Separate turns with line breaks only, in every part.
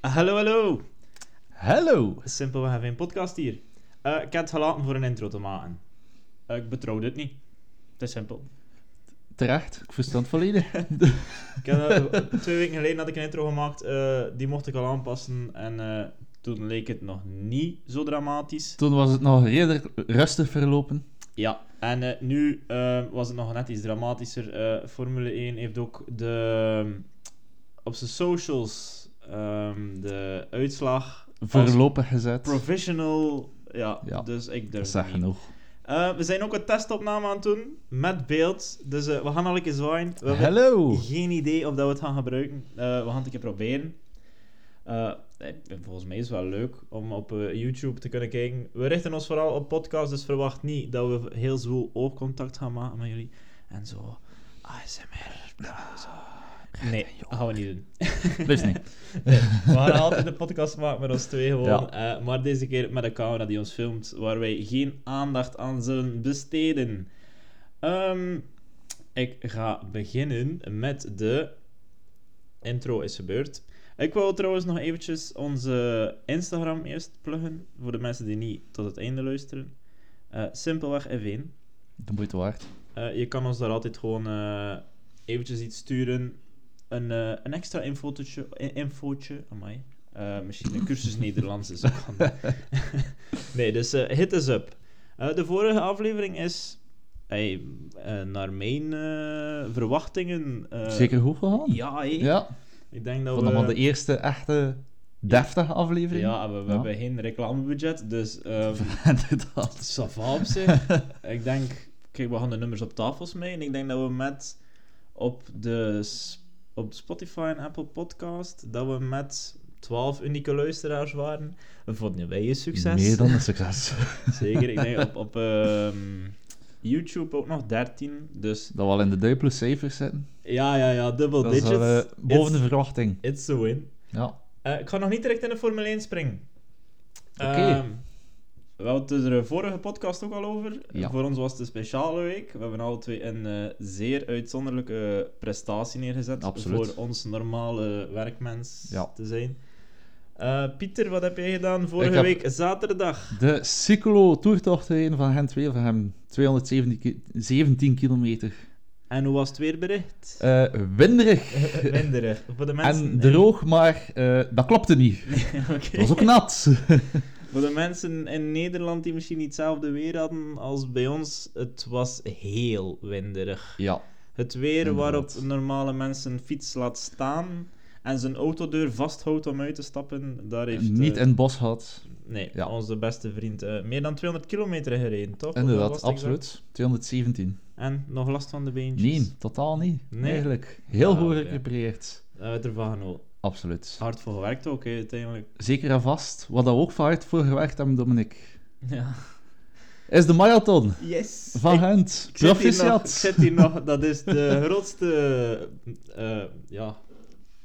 Hallo, hallo.
Hallo.
Simpelweg een podcast hier. Eh, ik heb het gelaten voor een intro te maken. Eh, ik betrouw dit niet. Het is simpel.
Terecht, ik verstand volledig.
Ik heb, eh, twee weken geleden had ik een intro gemaakt. eh, die mocht ik al aanpassen. En eh, toen leek het nog niet zo dramatisch.
Toen was het nog redelijk rustig verlopen.
Ja, en eh, nu eh, was het nog net iets dramatischer. Eh, Formule 1 heeft ook de, eh, op zijn socials ehm, de uitslag als
Voorlopig gezet.
professional. Ja,
Ja,
dus ik
Dat
durf
is dat
het niet.
genoeg.
Eh, we zijn ook een testopname aan het doen, met beeld. Dus eh, we gaan al een keer zwaaien. We hebben
Hallo.
geen idee of dat we het gaan gebruiken. Eh, we gaan het een keer proberen. Eh, eh, volgens mij is het wel leuk om op eh, YouTube te kunnen kijken. We richten ons vooral op podcasts, dus verwacht niet dat we heel zwoel oogcontact gaan maken met jullie. En zo, ASMR. Zo. Nee, gaan we niet doen.
Liefst niet.
We gaan altijd een podcast maken met ons twee gewoon.
Ja.
eh, maar deze keer met een camera die ons filmt, waar wij geen aandacht aan zullen besteden. Ehm, ik ga beginnen met de intro is gebeurd. Ik wil trouwens nog eventjes onze Instagram eerst pluggen, voor de mensen die niet tot het einde luisteren. Eh, simpelweg F1.
De moeite waard.
Eh, je kan ons daar altijd gewoon eh, eventjes iets sturen. Een, eh, een extra infootje. in- infootje amai. Eh, misschien een cursus Nederlands is ook handig. nee, dus eh, hit us up. Eh, de vorige aflevering is, hey, eh, naar mijn eh, verwachtingen... eh,
Zeker goed gegaan?
Ja, hey.
Ja.
ik denk
Ik
dat
vond dat
we...
wel de eerste echte deftige aflevering.
ja, en we, we
Ja.
hebben geen reclamebudget, dus... ehm
Inderdaad.
Ça va op zich. ik denk, kijk, we gaan de nummers op tafels mee. En ik denk dat we met op de s- op Spotify en Apple Podcast, dat we met 12 unieke luisteraars waren. Dat vonden wij een succes.
Meer dan een succes.
Zeker. Ik denk op, op ehm, YouTube ook nog 13. Dus
Dat we al in de duipele cijfers zitten.
ja, ja, ja, double
Dat is
digits.
al, eh, boven de
it's,
verwachting.
it's a win.
Ja.
Eh, ik ga nog niet direct in de Formule 1 springen.
Oké.
Ehm, we hadden het dus er de vorige podcast ook al over.
Ja.
Voor ons was het een speciale week. We hebben alle twee een eh, zeer uitzonderlijke prestatie neergezet.
Absoluut.
Voor ons normale werkmens
Ja.
te zijn. Eh, Pieter, wat heb jij gedaan vorige
Ik heb-
week zaterdag?
De cyclo-toertocht gereden van Gent 2 van hem. 217 ki- 17 kilometer.
En hoe was het weerbericht?
Eh, winderig.
Winderig. Voor de mensen...
En droog, maar eh, dat klopte niet.
Oké.
Het was ook nat.
Voor de mensen in Nederland die misschien niet hetzelfde weer hadden als bij ons, het was heel winderig.
ja,
Het weer
Inderdaad.
waarop normale mensen een fiets laat staan en zijn autodeur vasthoudt om uit te stappen, daar heeft... eh,
niet in het bos gehad.
Nee,
ja.
onze beste vriend eh, meer dan 200 kilometer gereden, toch? Of dat was
Inderdaad,
het exact?
absoluut. 217.
En nog last van de beentjes.
Nee, totaal niet.
Nee?
Eigenlijk. Heel
Ah,
goed
oké. Ah.
gerepareerd.
Daar hebben we het ervan genoten.
Absoluut.
Eh, Hard voor gewerkt ook, hè, uiteindelijk.
Zeker en vast. Wat daar ook vaart voor gewerkt hebben, Dominic.
Ja.
Is de marathon
Yes!
van
Ik-
Gent.
ik zit hier nog- Ik
Proficiat.
zit hier nog, dat is de grootste... eh, ja...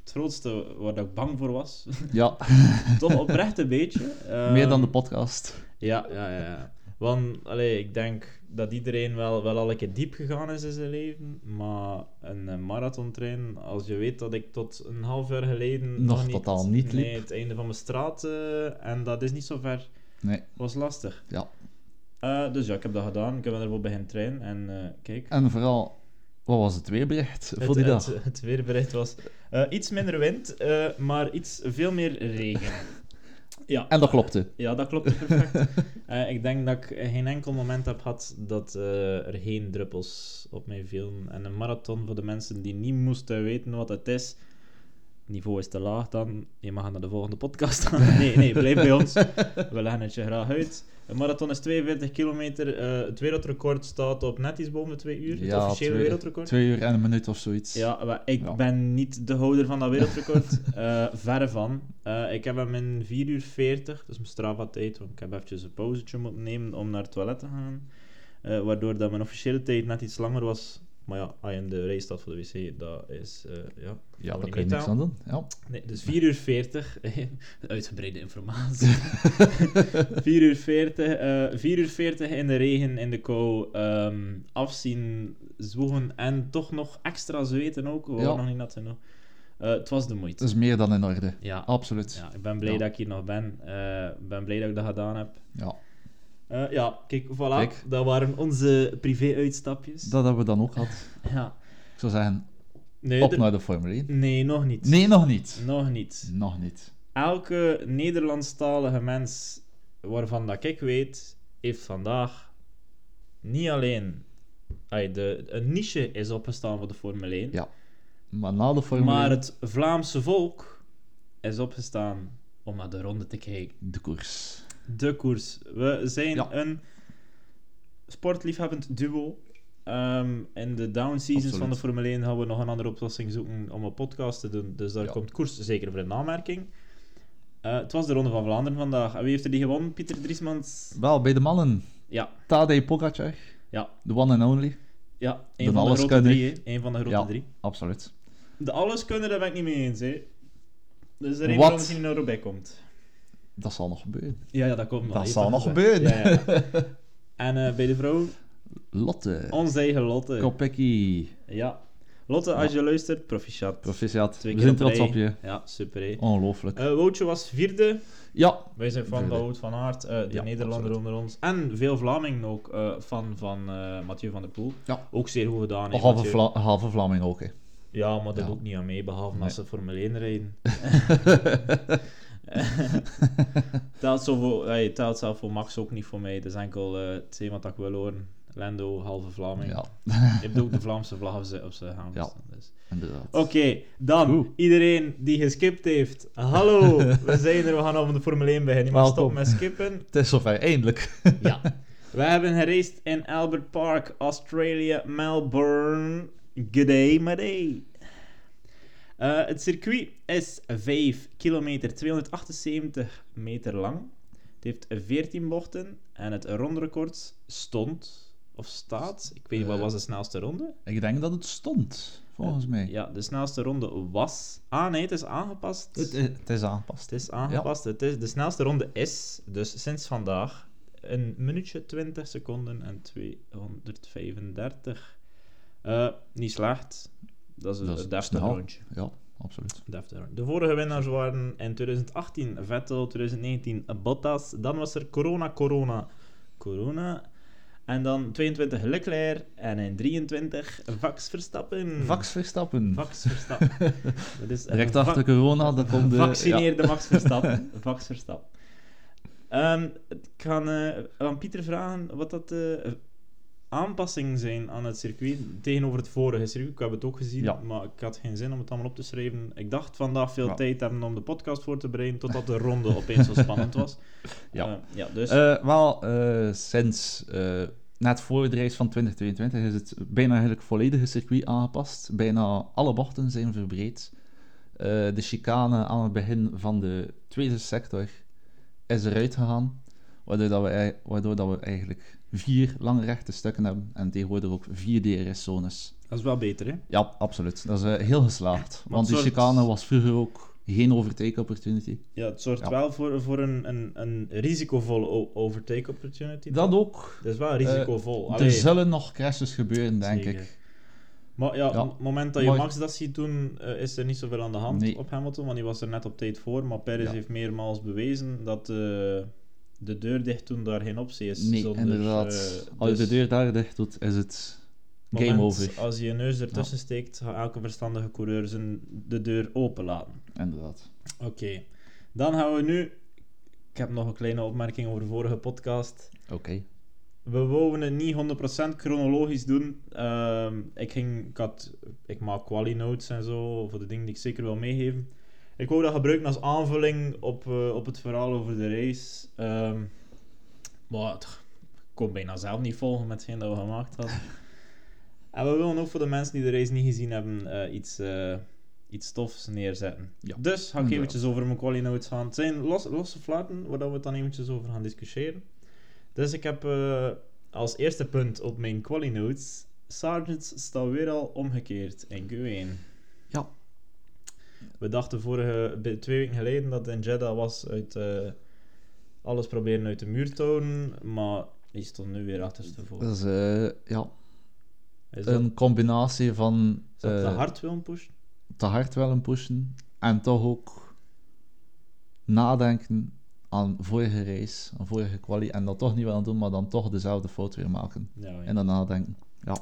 Het grootste waar dat ik bang voor was.
Ja,
Eh. Toch oprecht een beetje.
meer dan
Ehm,
de podcast.
Ja, ja, ja, ja. Want allee, ik denk dat iedereen wel, wel al een keer diep gegaan is in zijn leven. Maar een eh, marathon trainen, als je weet dat ik tot een half jaar geleden.
Nog totaal niet
nee,
liep.
het einde van mijn straat. eh, en dat is niet zo ver.
Nee,
was lastig.
ja.
Eh, dus ja, ik heb dat gedaan. Ik heb ervoor beginnen trainen. En eh, kijk.
En vooral, wat was het weerbericht voor
het,
die dag?
het, het weerbericht was eh, iets minder wind, eh, maar iets veel meer regen. Ja.
En dat klopte.
Ja, dat klopt perfect. Eh, ik denk dat ik geen enkel moment heb gehad dat eh, er geen druppels op mij vielen. En een marathon voor de mensen die niet moesten weten wat het is. Het niveau is te laag dan. Je mag naar de volgende podcast gaan. Nee, nee, blijf bij ons. We leggen het je graag uit. Een marathon is 42 kilometer. Eh, het wereldrecord staat op net iets boven de 2 uur. het officiële
twee-
wereldrecord.
Twee uur en een minuut of zoiets.
Ja, maar ik
Ja.
ben niet de houder van dat wereldrecord. Eh verre van. Eh, ik heb hem in 4 uur 40, dat is mijn Strava-tijd, want ik heb eventjes een pauzetje moeten nemen om naar het toilet te gaan. Eh, waardoor dat mijn officiële tijd net iets langer was. Maar ja, als je in de race staat voor de wc, dat is... eh, ja. Moet
ja daar
je
kun je
niet
niks aan doen. Ja.
Nee, dus 4 uur 40. Uitgebreide informatie. 4 uur 40. eh 4 uur 40 in de regen, in de kou. ehm, afzien, zwoegen en toch nog extra zweten ook. We
Ja.
waren nog niet nat genoeg. Eh, het was de moeite.
Dat is meer dan in orde.
ja.
Absoluut. Ja.
ja, ik ben blij
Ja.
dat ik hier nog ben. Eh, Ik ben blij dat ik dat gedaan heb. Eh, ja, kijk, voilà.
Kijk.
Dat waren onze privé-uitstapjes.
Dat hebben we dan ook gehad.
Ja.
Ik zou zeggen,
Nee,
op
er-
naar de Formule 1.
nee, nog niet.
Nee, nog niet.
Nog niet.
Nog niet.
Elke Nederlandstalige mens waarvan dat ik weet, heeft vandaag niet alleen ai, de, een niche is opgestaan voor de Formule 1,
Ja, Maar na de Formule
maar
1,
het Vlaamse volk is opgestaan om naar de ronde te kijken.
de koers.
De koers. We zijn
Ja.
een sportliefhebbend duo. Ehm, in de down seasons
Absoluut.
van de Formule 1 gaan we nog een andere oplossing zoeken om een podcast te doen. Dus daar
Ja.
komt koers zeker voor in aanmerking. Eh, het was de Ronde van Vlaanderen vandaag. En wie heeft er die gewonnen? Pieter Driesmans?
Wel, bij de mannen.
Ja,
Tadej Pogacar,
ja,
the one and only.
ja.
De
Een van de grote
alleskunner.
drie. hè. Een van de grote
Ja.
drie.
Absoluut.
De alleskunde, daar ben ik niet mee eens. Hè. Dus er een
Wat?
van misschien naar Roubaix komt.
Dat zal nog gebeuren.
Ja, ja, dat komt nog.
Dat
hè.
zal nog
is-
gebeuren.
Ja, ja. En eh, bij de vrouw,
Lotte.
onze eigen Lotte.
Kopecky.
Ja. Lotte, als je luistert, proficiat.
Proficiat.
Twee
We
keer
zijn trots
rij.
op je.
Ja, super. hè.
Ongelooflijk.
Eh, Woutje was vierde.
Ja,
Wij zijn fan
Vierde.
van Wout van Aert, eh, de
Ja,
Nederlander
absoluut.
onder ons. En veel Vlamingen ook, eh, fan van eh, Mathieu van der Poel.
Ja.
Ook zeer goed gedaan. hè,
halve,
Mathieu.
Vla halve Vlaming ook. Hè.
Ja, maar dat
Ja.
doet niet aan mee, behalve
Nee.
als ze Formule 1 rijden. telt, zo voor, hey, telt zelf voor Max ook niet voor mij. Dat is enkel eh, het thema dat ik wil horen. Lando, halve Vlaming.
Ja,
Je hebt ook de Vlaamse vlag op zijn- op zijn hang
Ja.
staan, dus.
inderdaad.
Oké, dan
Goed.
iedereen die geskipt heeft. Hallo, we zijn er. We gaan over de Formule 1 beginnen. Je mag
Welkom.
stoppen met skippen.
Het is zover, eindelijk.
Ja. We hebben geraced in Albert Park, Australia, Melbourne. G'day, my day. Eh, het circuit is 5 kilometer, 278 meter lang. Het heeft 14 bochten en het ronderecord stond of staat. Ik weet niet, wat
Eh,
was de snelste ronde?
Ik denk dat het stond, volgens mij.
Ja, de snelste ronde was. Ah nee, het is aangepast.
Het,
Het,
het is aangepast.
is aangepast. Het is, de snelste ronde is, dus sinds vandaag, een minuutje 20 seconden en 235. Eh, niet slecht. Dat is een
Dat is
een deftig
snel.
rondje.
Ja, absoluut.
Deftig rondje. De vorige winnaars waren in 2018 Vettel, 2019 Bottas. Dan was er Corona, Corona, Corona. En dan 22 Leclerc. En in 23 Vax Verstappen.
Hmm. Vax Verstappen.
Max Verstappen. Dat is een
Direct
va-
achter corona, dan komt de...
Vaccineerde Max Verstappen. Max Verstappen. Ehm, ik ga eh, aan Pieter vragen wat dat de aanpassingen zijn aan het circuit tegenover het vorige circuit. Ik heb het ook gezien,
Ja.
maar ik had geen zin om het allemaal op te schrijven. Ik dacht vandaag veel
Ja.
tijd hebben om de podcast voor te bereiden, totdat de ronde opeens zo spannend was.
Ja.
Eh, ja dus
Ja. Eh, wel, eh, sinds eh, net voor de race van 2022 is het bijna eigenlijk volledige circuit aangepast. Bijna alle bochten zijn verbreed. Eh, de chicane aan het begin van de tweede sector is eruit gegaan. Waardoor, dat we, ei- waardoor dat we eigenlijk vier lange rechte stukken hebben. En tegenwoordig ook vier DRS-zones.
dat is wel beter, hè?
Ja, absoluut. Dat is eh, heel geslaagd. Want die
soort-
chicane was vroeger ook geen overtake opportunity.
Ja, het zorgt
Ja.
wel voor, voor een, een, een risicovolle o- overtake opportunity.
Dat dus ook.
Dat is wel risicovol.
Er
Allee.
zullen nog crashes gebeuren, denk
Zeker.
ik.
Maar ja, op
Ja.
het moment dat je
Maar-
Max dat ziet doen, eh, is er niet zoveel aan de hand
Nee.
op Hamilton, want die was er net op tijd voor. Maar Perez
Ja.
heeft meermaals bewezen dat eh, de deur dicht doen daar geen optie is.
Nee,
zonder,
inderdaad.
eh,
Als je
dus
de deur daar dicht doet, is het
op het
game
moment
over.
Als je je neus ertussen steekt, gaat elke verstandige coureur zijn de deur openlaten.
Inderdaad.
Oké, dan gaan we nu... Ik heb nog een kleine opmerking over de vorige podcast.
Oké.
We wouden het niet 100% chronologisch doen. Ehm, ik, ging, ik, had, ik maak quali notes en zo voor de dingen die ik zeker wil meegeven. Ik wou dat gebruiken als aanvulling op, eh, op het verhaal over de race. Ehm, maar het- ik kon bijna zelf niet volgen met hetgeen dat we gemaakt hadden. en we willen ook voor de mensen die de race niet gezien hebben eh, iets, eh, iets tofs neerzetten.
Ja,
Dus ga ik
inderdaad.
eventjes over mijn quali notes gaan. Het zijn los, losse flaten waar dat we het dan eventjes over gaan discussiëren. Dus ik heb eh, als eerste punt op mijn quali notes. Sargents staat weer al omgekeerd in Q1.
Ja.
We dachten vorige, bij- twee weken geleden dat in Jeddah was uit eh, alles proberen uit de muur te houden, maar die stond nu weer achterstevoren.
Dat is eh, ja,
Is dat,
een combinatie van...
is dat te
eh,
hard willen pushen?
te hard willen pushen en toch ook nadenken aan vorige race, aan vorige quali en dat toch niet willen doen, maar dan toch dezelfde fout weer maken.
Ja, ja.
En dan nadenken. Ja.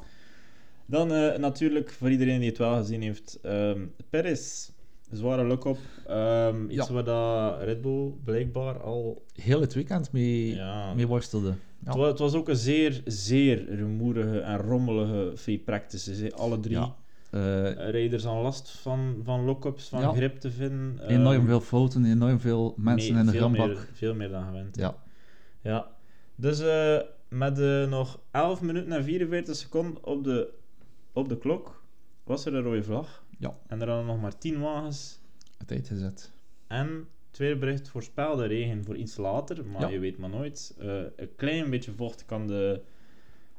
Dan eh, natuurlijk, voor iedereen die het wel gezien heeft, ehm Perez. Zware look-up. Ehm, iets
Ja.
waar dat Red Bull blijkbaar al...
Heel het weekend mee,
Ja,
mee worstelde. Ja.
Het, was, het was ook een zeer, zeer rumoerige en rommelige free practices. hè. Alle drie
Ja. Eh,
Eh, rijders aan last van, van lock-ups, van
Ja.
grip te vinden. Ehm,
enorm veel fouten, enorm veel mensen
nee,
in de
veel
grondbak.
meer, veel meer dan gewend.
Ja.
Ja. Dus eh, met eh, nog 11 minuten en 44 seconden op de, op de klok was er een rode vlag.
Ja.
En er hadden nog maar 10 wagens.
het uitgezet.
En tweede bericht voorspelde regen voor iets later, maar
Ja.
je weet maar nooit. Eh, een klein beetje vocht kan de,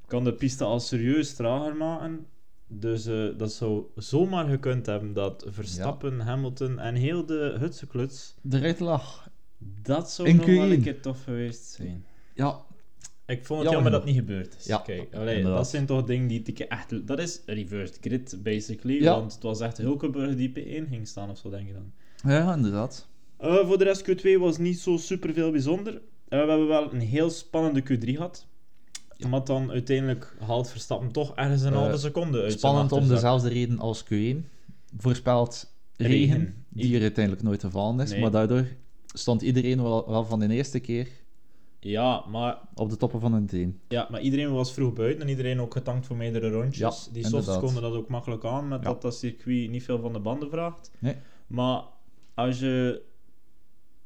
kan de piste al serieus trager maken. Dus eh, dat zou zomaar gekund hebben dat Verstappen, Hamilton en heel de hutsekluts,
De rit lag.
dat zou
In
nog wel een
Q1.
keer tof geweest zijn.
Ja,
Ik vond het
Jammer
jammer dat het niet gebeurd is.
Ja,
Kijk, allee,
inderdaad.
dat zijn toch dingen die ik echt... Dat is reverse grid, basically.
Ja.
Want het was echt Hulkenburg die P1 ging staan of zo, denk ik dan.
ja inderdaad.
Eh, voor de rest, Q2 was niet zo superveel bijzonder. Eh, we hebben wel een heel spannende Q3 gehad.
Ja.
Maar dan uiteindelijk haalt Verstappen toch ergens een
Eh,
halve seconde uit zijn dus
Spannend om
achterzak.
dezelfde reden als Q1. Voorspeld
Regen.
regen, die er uiteindelijk nooit gevallen is.
Nee.
Maar daardoor stond iedereen wel, wel van de eerste keer
Ja maar,
op de toppen van hun teen.
ja, maar iedereen was vroeg buiten en iedereen ook getankt voor meerdere rondjes.
Ja,
Die softs
inderdaad.
konden dat ook makkelijk aan, met
Ja.
dat dat circuit niet veel van de banden vraagt.
Nee.
Maar als je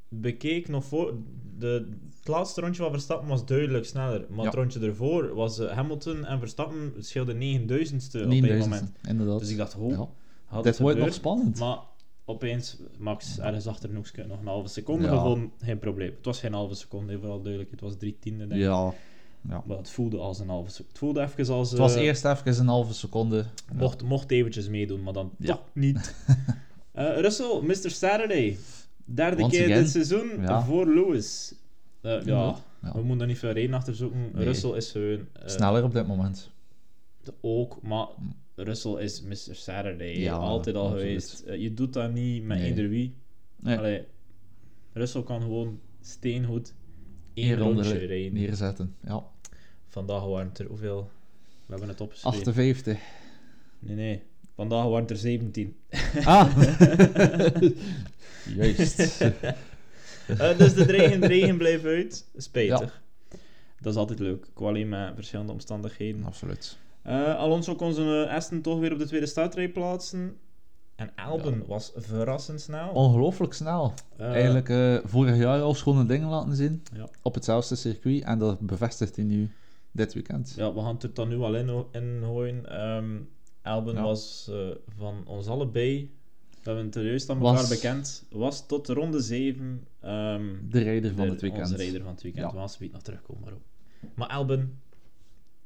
bekeek nog voor... De, het laatste rondje van Verstappen was duidelijk sneller. Maar
Ja.
het rondje ervoor was eh, Hamilton en Verstappen scheelden 9000ste op een
9000,
moment.
inderdaad.
Dus ik dacht, ho,
ja.
had
Dit
het
wordt nog
gebeurd?
spannend.
Maar opeens, Max ergens achter een hoekje, nog een halve seconde
Ja.
gevonden, geen probleem. Het was geen halve seconde, heel vooral duidelijk. Het was drie tiende, denk ik.
ja.
Maar het voelde als een halve seconde. Het voelde even als...
Het was
eh,
eerst even een halve seconde.
mocht, mocht eventjes meedoen, maar dan
Ja.
toch niet. Eh, Russell, Mr. Saturday. Derde
Once
keer
again.
dit seizoen
Ja.
voor Lewis. Eh, ja,
Ja. Ja.
we moeten er niet veel reden achter zoeken.
Nee.
Russell is gewoon... eh,
Sneller op dit moment.
ook, maar Russell is Mr. Saturday.
Ja,
altijd al
absoluut.
geweest. Eh, je doet dat niet met
Nee.
ieder wie.
Nee.
Allee, Russell kan gewoon steengoed één
Hier
rondje
onder
rijden.
neerzetten. Ja.
Vandaag waren het er hoeveel? We hebben het opgeschreven.
58.
Nee, nee. Vandaag waren het er 17.
Ah! Juist.
Eh, dus de regen, de regen bleef uit. Spijtig. Dat is altijd leuk. Quali met verschillende omstandigheden.
Absoluut.
Eh, Alonso kon zijn eh, Aston toch weer op de tweede startrij plaatsen. En Albon was verrassend snel.
Ongelooflijk snel.
Eh,
Oh, Eigenlijk eh, vorig jaar al schone dingen laten zien.
Ja.
Op hetzelfde circuit. En dat bevestigt hij nu dit weekend.
Ja, we gaan het er dan nu al in, in gooien. Ehm Albon
Ja.
was eh, van ons allebei, we hebben het er juist aan elkaar
Was-
bekend, was tot ronde 7 ehm
De rijder van
de-
het weekend.
onze rijder van het weekend.
Ja.
We gaan zometeen nog terugkomen daarop. Maar Albon,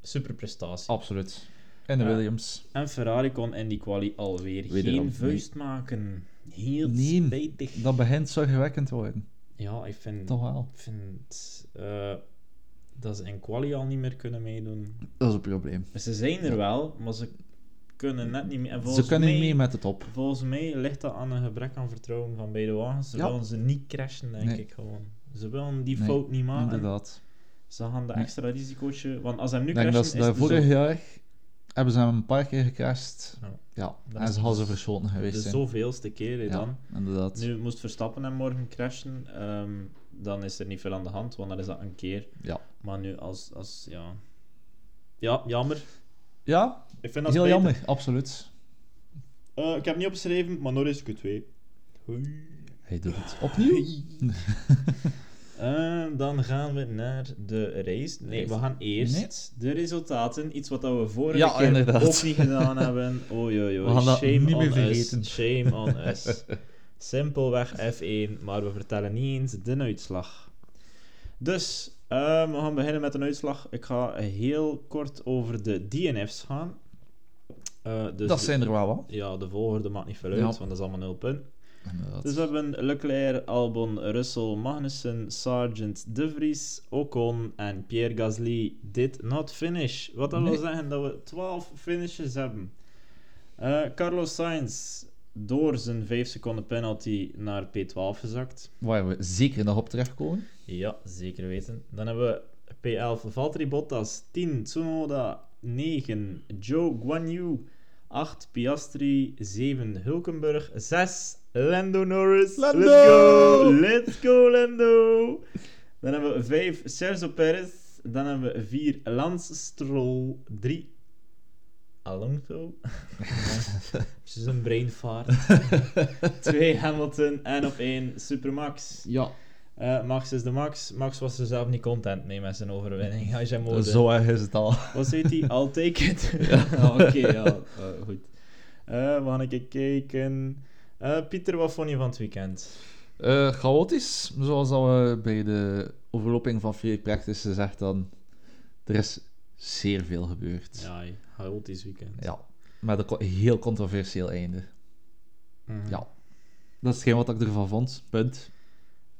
super prestatie.
Absoluut. En de
Ja.
Williams.
En Ferrari kon in die quali alweer
Wederom
geen
niet.
vuist maken. Heel
Nee.
spijtig.
Dat begint zorgwekkend te worden.
Ja, ik vind...
Toch wel.
Ik vind eh, dat ze in quali al niet meer kunnen meedoen.
Dat is een probleem.
Ze zijn er wel, maar ze kunnen net niet meer. En
Ze
volgens
kunnen niet
mij- Ah,
mee met de top.
Volgens mij ligt dat aan een gebrek aan vertrouwen van beide wagens. Ze
Ja.
willen ze niet crashen, denk
Nee.
ik gewoon. Ze willen die
Nee,
fout niet maken.
Inderdaad.
Ze gaan dat
Nee.
extra risicootje... Want als ze hem nu
Ik denk dat
crashen,
ze
is
daar
het dus
vorig
zo-
jaar hebben ze hem een paar keer gecrashed.
Ja.
Ja.
Dat
En
is
ze hadden
dus-
ze verschoten
de
geweest. zijn.
zoveelste keer hè,
Ja,
dan.
inderdaad.
Nu moest Verstappen en morgen crashen. ehm, dan is er niet veel aan de hand, want dan is dat een keer.
Ja.
Maar nu als... als ja. ja, jammer.
ja,
Ik vind dat
heel
spijtig.
jammer. Absoluut.
Eh, ik heb niet opgeschreven, maar Norris Q2. Hoi.
Hij doet het opnieuw.
Eh, dan gaan we naar de race. Nee, we gaan eerst de resultaten. Iets wat dat we vorige
Ja,
keer
inderdaad.
ook niet gedaan hebben. Oei, oei, oei.
We gaan dat
Shame
niet meer
on
vergeten.
Us. Shame on us. Simpelweg F1, maar we vertellen niet eens de uitslag. Dus, eh, we gaan beginnen met een uitslag. Ik ga heel kort over de DNF's gaan. Eh, dus
dat zijn er wel wat.
Ja, de volgorde maakt niet veel uit,
Ja.
want dat is allemaal nul punt.
Inderdaad.
Dus we hebben Leclerc, Albon, Russell, Magnussen, Sargent, De Vries, Ocon en Pierre Gasly did not finish. Wat dat wil
Nee.
zeggen dat we 12 finishes hebben. Eh, Carlos Sainz door zijn 5 seconden penalty naar P12 gezakt.
Waar we zeker nog op terechtkomen.
Ja, zeker weten. Dan hebben we P11 Valtteri Bottas, 10 Tsunoda, 9 Joe Guanyu, 8 Piastri, 7 Hulkenberg, 6 Lando Norris.
Lando!
Let's go! Let's go, Lando! Dan hebben we 5 Sergio Perez. Dan hebben we 4 Lance Stroll, 3 Alonso. Het is een brainfart. 2 Hamilton en op 1 Supermax.
Ja,
Eh, Max is de Max. Max was er zelf niet content mee met zijn overwinning. Als jij mode.
Eh, zo erg is het al.
Wat heet die? I'll take it. Ah,
Ja.
Oké, ja. eh, goed. Eh we gaan even kijken. Eh, Pieter, wat vond je van het weekend?
Eh, chaotisch, zoals al we bij de overloping van Free Practice gezegd hadden. Er is zeer veel gebeurd.
Ja, chaotisch weekend.
Ja, met een co- heel controversieel einde.
Mhm.
Ja. Dat is hetgeen wat ik ervan vond. Punt.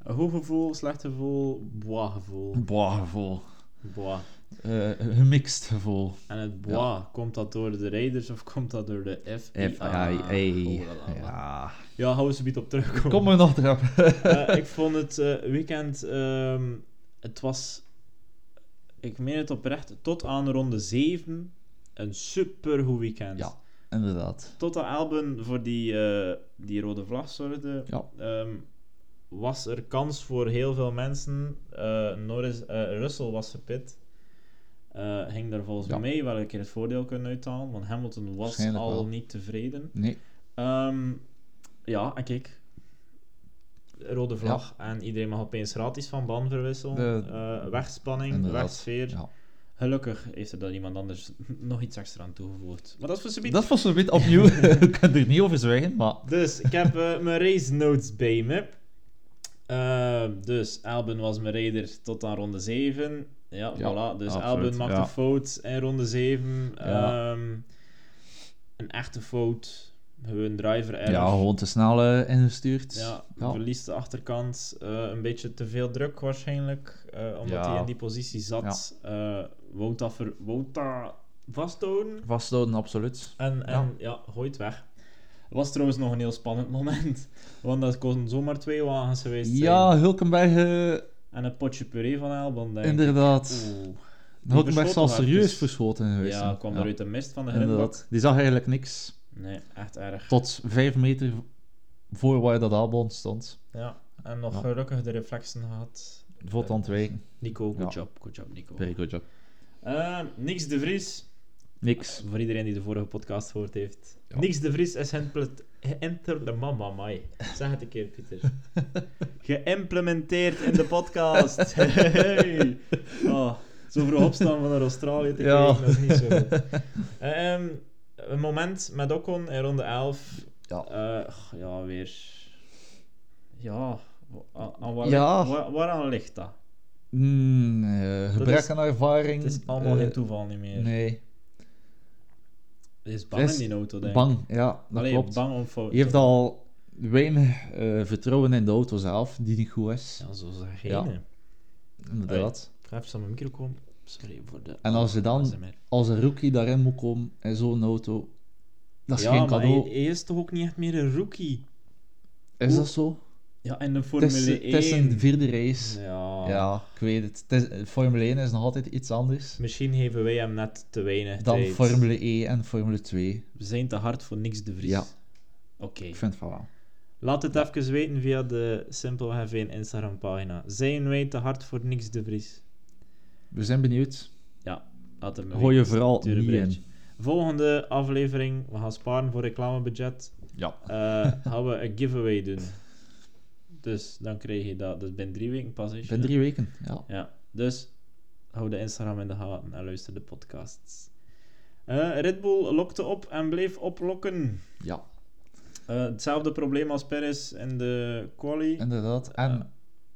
Hoog gevoel, slecht gevoel, bois gevoel.
Boah, gevoel.
Bois.
Eh, gemixt gevoel.
En het bois, komt dat door de Raiders of komt dat door de FBI?
F.I.A.
Oh, la, la, la.
Ja.
Ja, gaan we ze op terugkomen.
Kom er nog erop.
Eh, ik vond het eh, weekend. ehm, het was. Ik meen het oprecht. Tot aan ronde 7. Een super goed weekend.
Ja, inderdaad.
Tot aan Elben voor die, eh, die rode vlag zorgde.
Ja.
ehm, was er kans voor heel veel mensen. Eh, Norris, eh, Russell was gepit. Eh ging daar volgens
Ja.
mij wel een keer het voordeel kunnen uithalen. Want Hamilton was
Waarschijnlijk
al
wel.
niet tevreden.
Nee.
Ehm, ja, en kijk. Rode vlag. En iedereen mag opeens gratis van ban verwisselen.
De-
Eh, wegspanning,
Inderdaad.
wegsfeer.
Ja.
Gelukkig heeft er dan iemand anders nog iets extra aan toegevoegd. Maar dat is voor subiet.
Dat was een beetje opnieuw. ik kan er niet over zwijgen, maar...
Dus ik heb eh, mijn race notes bij me. Eh, dus Alben was mijn raider tot aan ronde 7. Ja,
Ja,
voilà. Dus
absoluut,
Alben maakt
ja.
een fout in ronde 7.
Ja.
Ehm, een echte fout. Gewoon driver error.
Ja, gewoon te snel eh, ingestuurd.
Ja,
Ja.
verliest de achterkant. eh, een beetje te veel druk waarschijnlijk. eh, omdat
Ja.
hij in die positie zat. Eh wou dat ver- wou dat vasthouden.
Vasthouden, absoluut.
En, en ja. gooit weg. Was trouwens nog een heel spannend moment. Want dat kon zomaar twee wagens geweest zijn.
Ja, Hulkenberg, eh,
En een potje puree van Elban, denk ik.
inderdaad.
Oeh.
Hulkenberg is
verschoten
al serieus
hard, dus-
verschoten geweest.
Ja,
zijn.
kwam eruit de mist van de grindbak.
Inderdaad. Die zag eigenlijk niks.
Nee, echt erg.
Tot vijf meter voor waar dat albon stond.
Ja. En nog
Ja.
gelukkig de reflexen gehad.
Vlot ontwijken.
Nico, good
Ja.
job. Good job, Nico.
Very good job.
Eh, niks de Vries.
Niks.
Voor iedereen die de vorige podcast gehoord heeft.
Ja.
Niks de Vries is geïmplet- geïnter... Mama, mai. Zeg het een keer, Pieter. Geïmplementeerd in de podcast. Hey. Oh, zo vroeg opstaan van naar Australië te
Ja.
kijken, dat is niet zo goed. Eh, ehm, een moment met Ocon in ronde 11.
Ja.
Eh, ja, weer... Ja... wa- Aan waar,
Ja.
wa- waaraan ligt dat?
Mm, eh, gebrek
is-
aan ervaring.
Het is allemaal
eh,
geen toeval niet meer.
Nee.
Het is bang
Het is
in die auto, denk ik.
Bang, ja, dat
Allee,
klopt.
bang om fouten
Je heeft al weinig eh, vertrouwen in de auto zelf, die niet goed is.
Ja, zo zeg je.
Ja.
hè.
Inderdaad.
Ik ga even aan mijn micro komen. Sorry voor de...
En als je dan
ASMR.
als een rookie daarin moet komen in zo'n auto, dat is
ja,
geen
maar
cadeau.
Hij, hij is toch ook niet echt meer een rookie?
Is dat zo?
Ja, in de
Het
Formule
is,
1.
het is een vierde race.
Ja.
Ja, ik weet het. het is- Formule 1 is nog altijd iets anders
Misschien geven wij hem net te weinig
dan
tijd.
Formule E en Formule 2.
We zijn te hard voor niks de Vries.
Ja.
Oké.
Ik vind van wel.
Laat het even weten via de Simpelweg 1 Instagram pagina. Zijn wij te hard voor niks de Vries?
We zijn benieuwd.
Laat het me
Gooi je
weten.
vooral
Stuur een
niet
berichtje.
in.
Volgende aflevering. We gaan sparen voor reclamebudget.
Ja.
eh gaan we een giveaway doen. Dus dan krijg je dat. Dus binnen drie weken pas is.
Binnen drie weken. Ja.
Ja, dus hou de Instagram in de gaten en luister de podcasts. Eh, Red Bull lokte op en bleef oplokken.
ja,
Eh, hetzelfde probleem als Perez in de quali.
inderdaad.
Ja.
En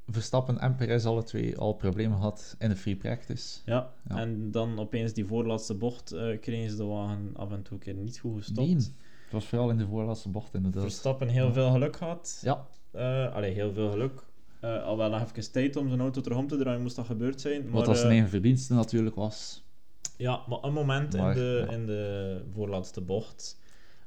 Verstappen en Perez alle twee al problemen gehad in de free practice.
Ja,
Ja.
en dan opeens die voorlaatste bocht eh, kregen ze de wagen af en toe een keer niet goed gestopt.
Nee. Het was vooral in de voorlaatste bocht inderdaad.
Verstappen heel veel geluk gehad.
Ja,
Eh, allee, heel veel geluk. Eh, al wel nog even tijd om zijn auto terug om te draaien, moest dat gebeurd zijn. Maar,
wat als
eh,
zijn eigen verdienste natuurlijk was.
Ja, maar een moment in,
Maar,
de,
ja.
in de voorlaatste bocht.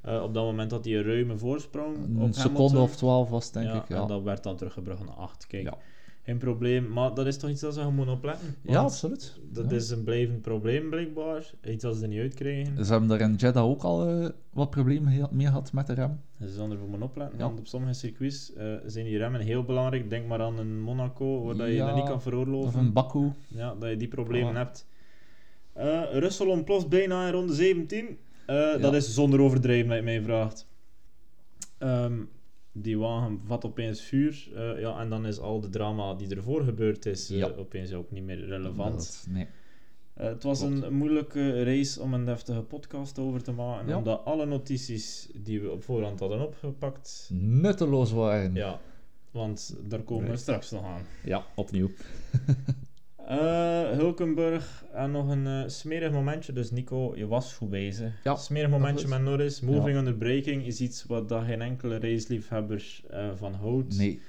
Eh, op dat moment had hij een ruime voorsprong. op
Een seconde
Hamilton.
of twaalf was het, denk
ja,
ik. Ja,
En dat werd dan teruggebracht naar 8. Kijk,
Ja.
geen probleem. Maar dat is toch iets dat ze moeten opletten?
ja
Want
absoluut.
Dat
Ja.
is een blijvend probleem, blijkbaar. Iets dat ze er niet uitkrijgen.
Ze hebben daar in Jeddah ook al eh, wat problemen geha- mee gehad met de rem.
Ze zullen er voor moeten opletten,
Ja.
want op sommige circuits eh, zijn die remmen heel belangrijk. Denk maar aan een Monaco, waar dat je
Ja,
dat niet kan
Of
veroorloven.
een Baku.
Ja, dat je die problemen
Voilà.
hebt. Eh Russell ontploft bijna in ronde 17. Eh, Dat is zonder overdrijven, als je mij vraagt. Ehm, die wagen vat opeens vuur. eh, ja, en dan is al de drama die ervoor gebeurd is eh,
Ja.
opeens ook niet meer relevant.
Dat- nee.
Eh, het was
Klopt.
een moeilijke race om een deftige podcast over te maken,
Ja.
omdat alle notities die we op voorhand hadden opgepakt,
Nutteloos waren.
ja, want daar komen we
Nee.
straks nog aan.
Ja, opnieuw.
Eh, Hulkenburg en nog een eh, smerig momentje, dus Nico, je was goed bezig.
Ja,
smerig momentje
dat
met
is-
Norris, moving under braking is iets wat dat geen enkele raceliefhebber eh, van houdt.
Nee,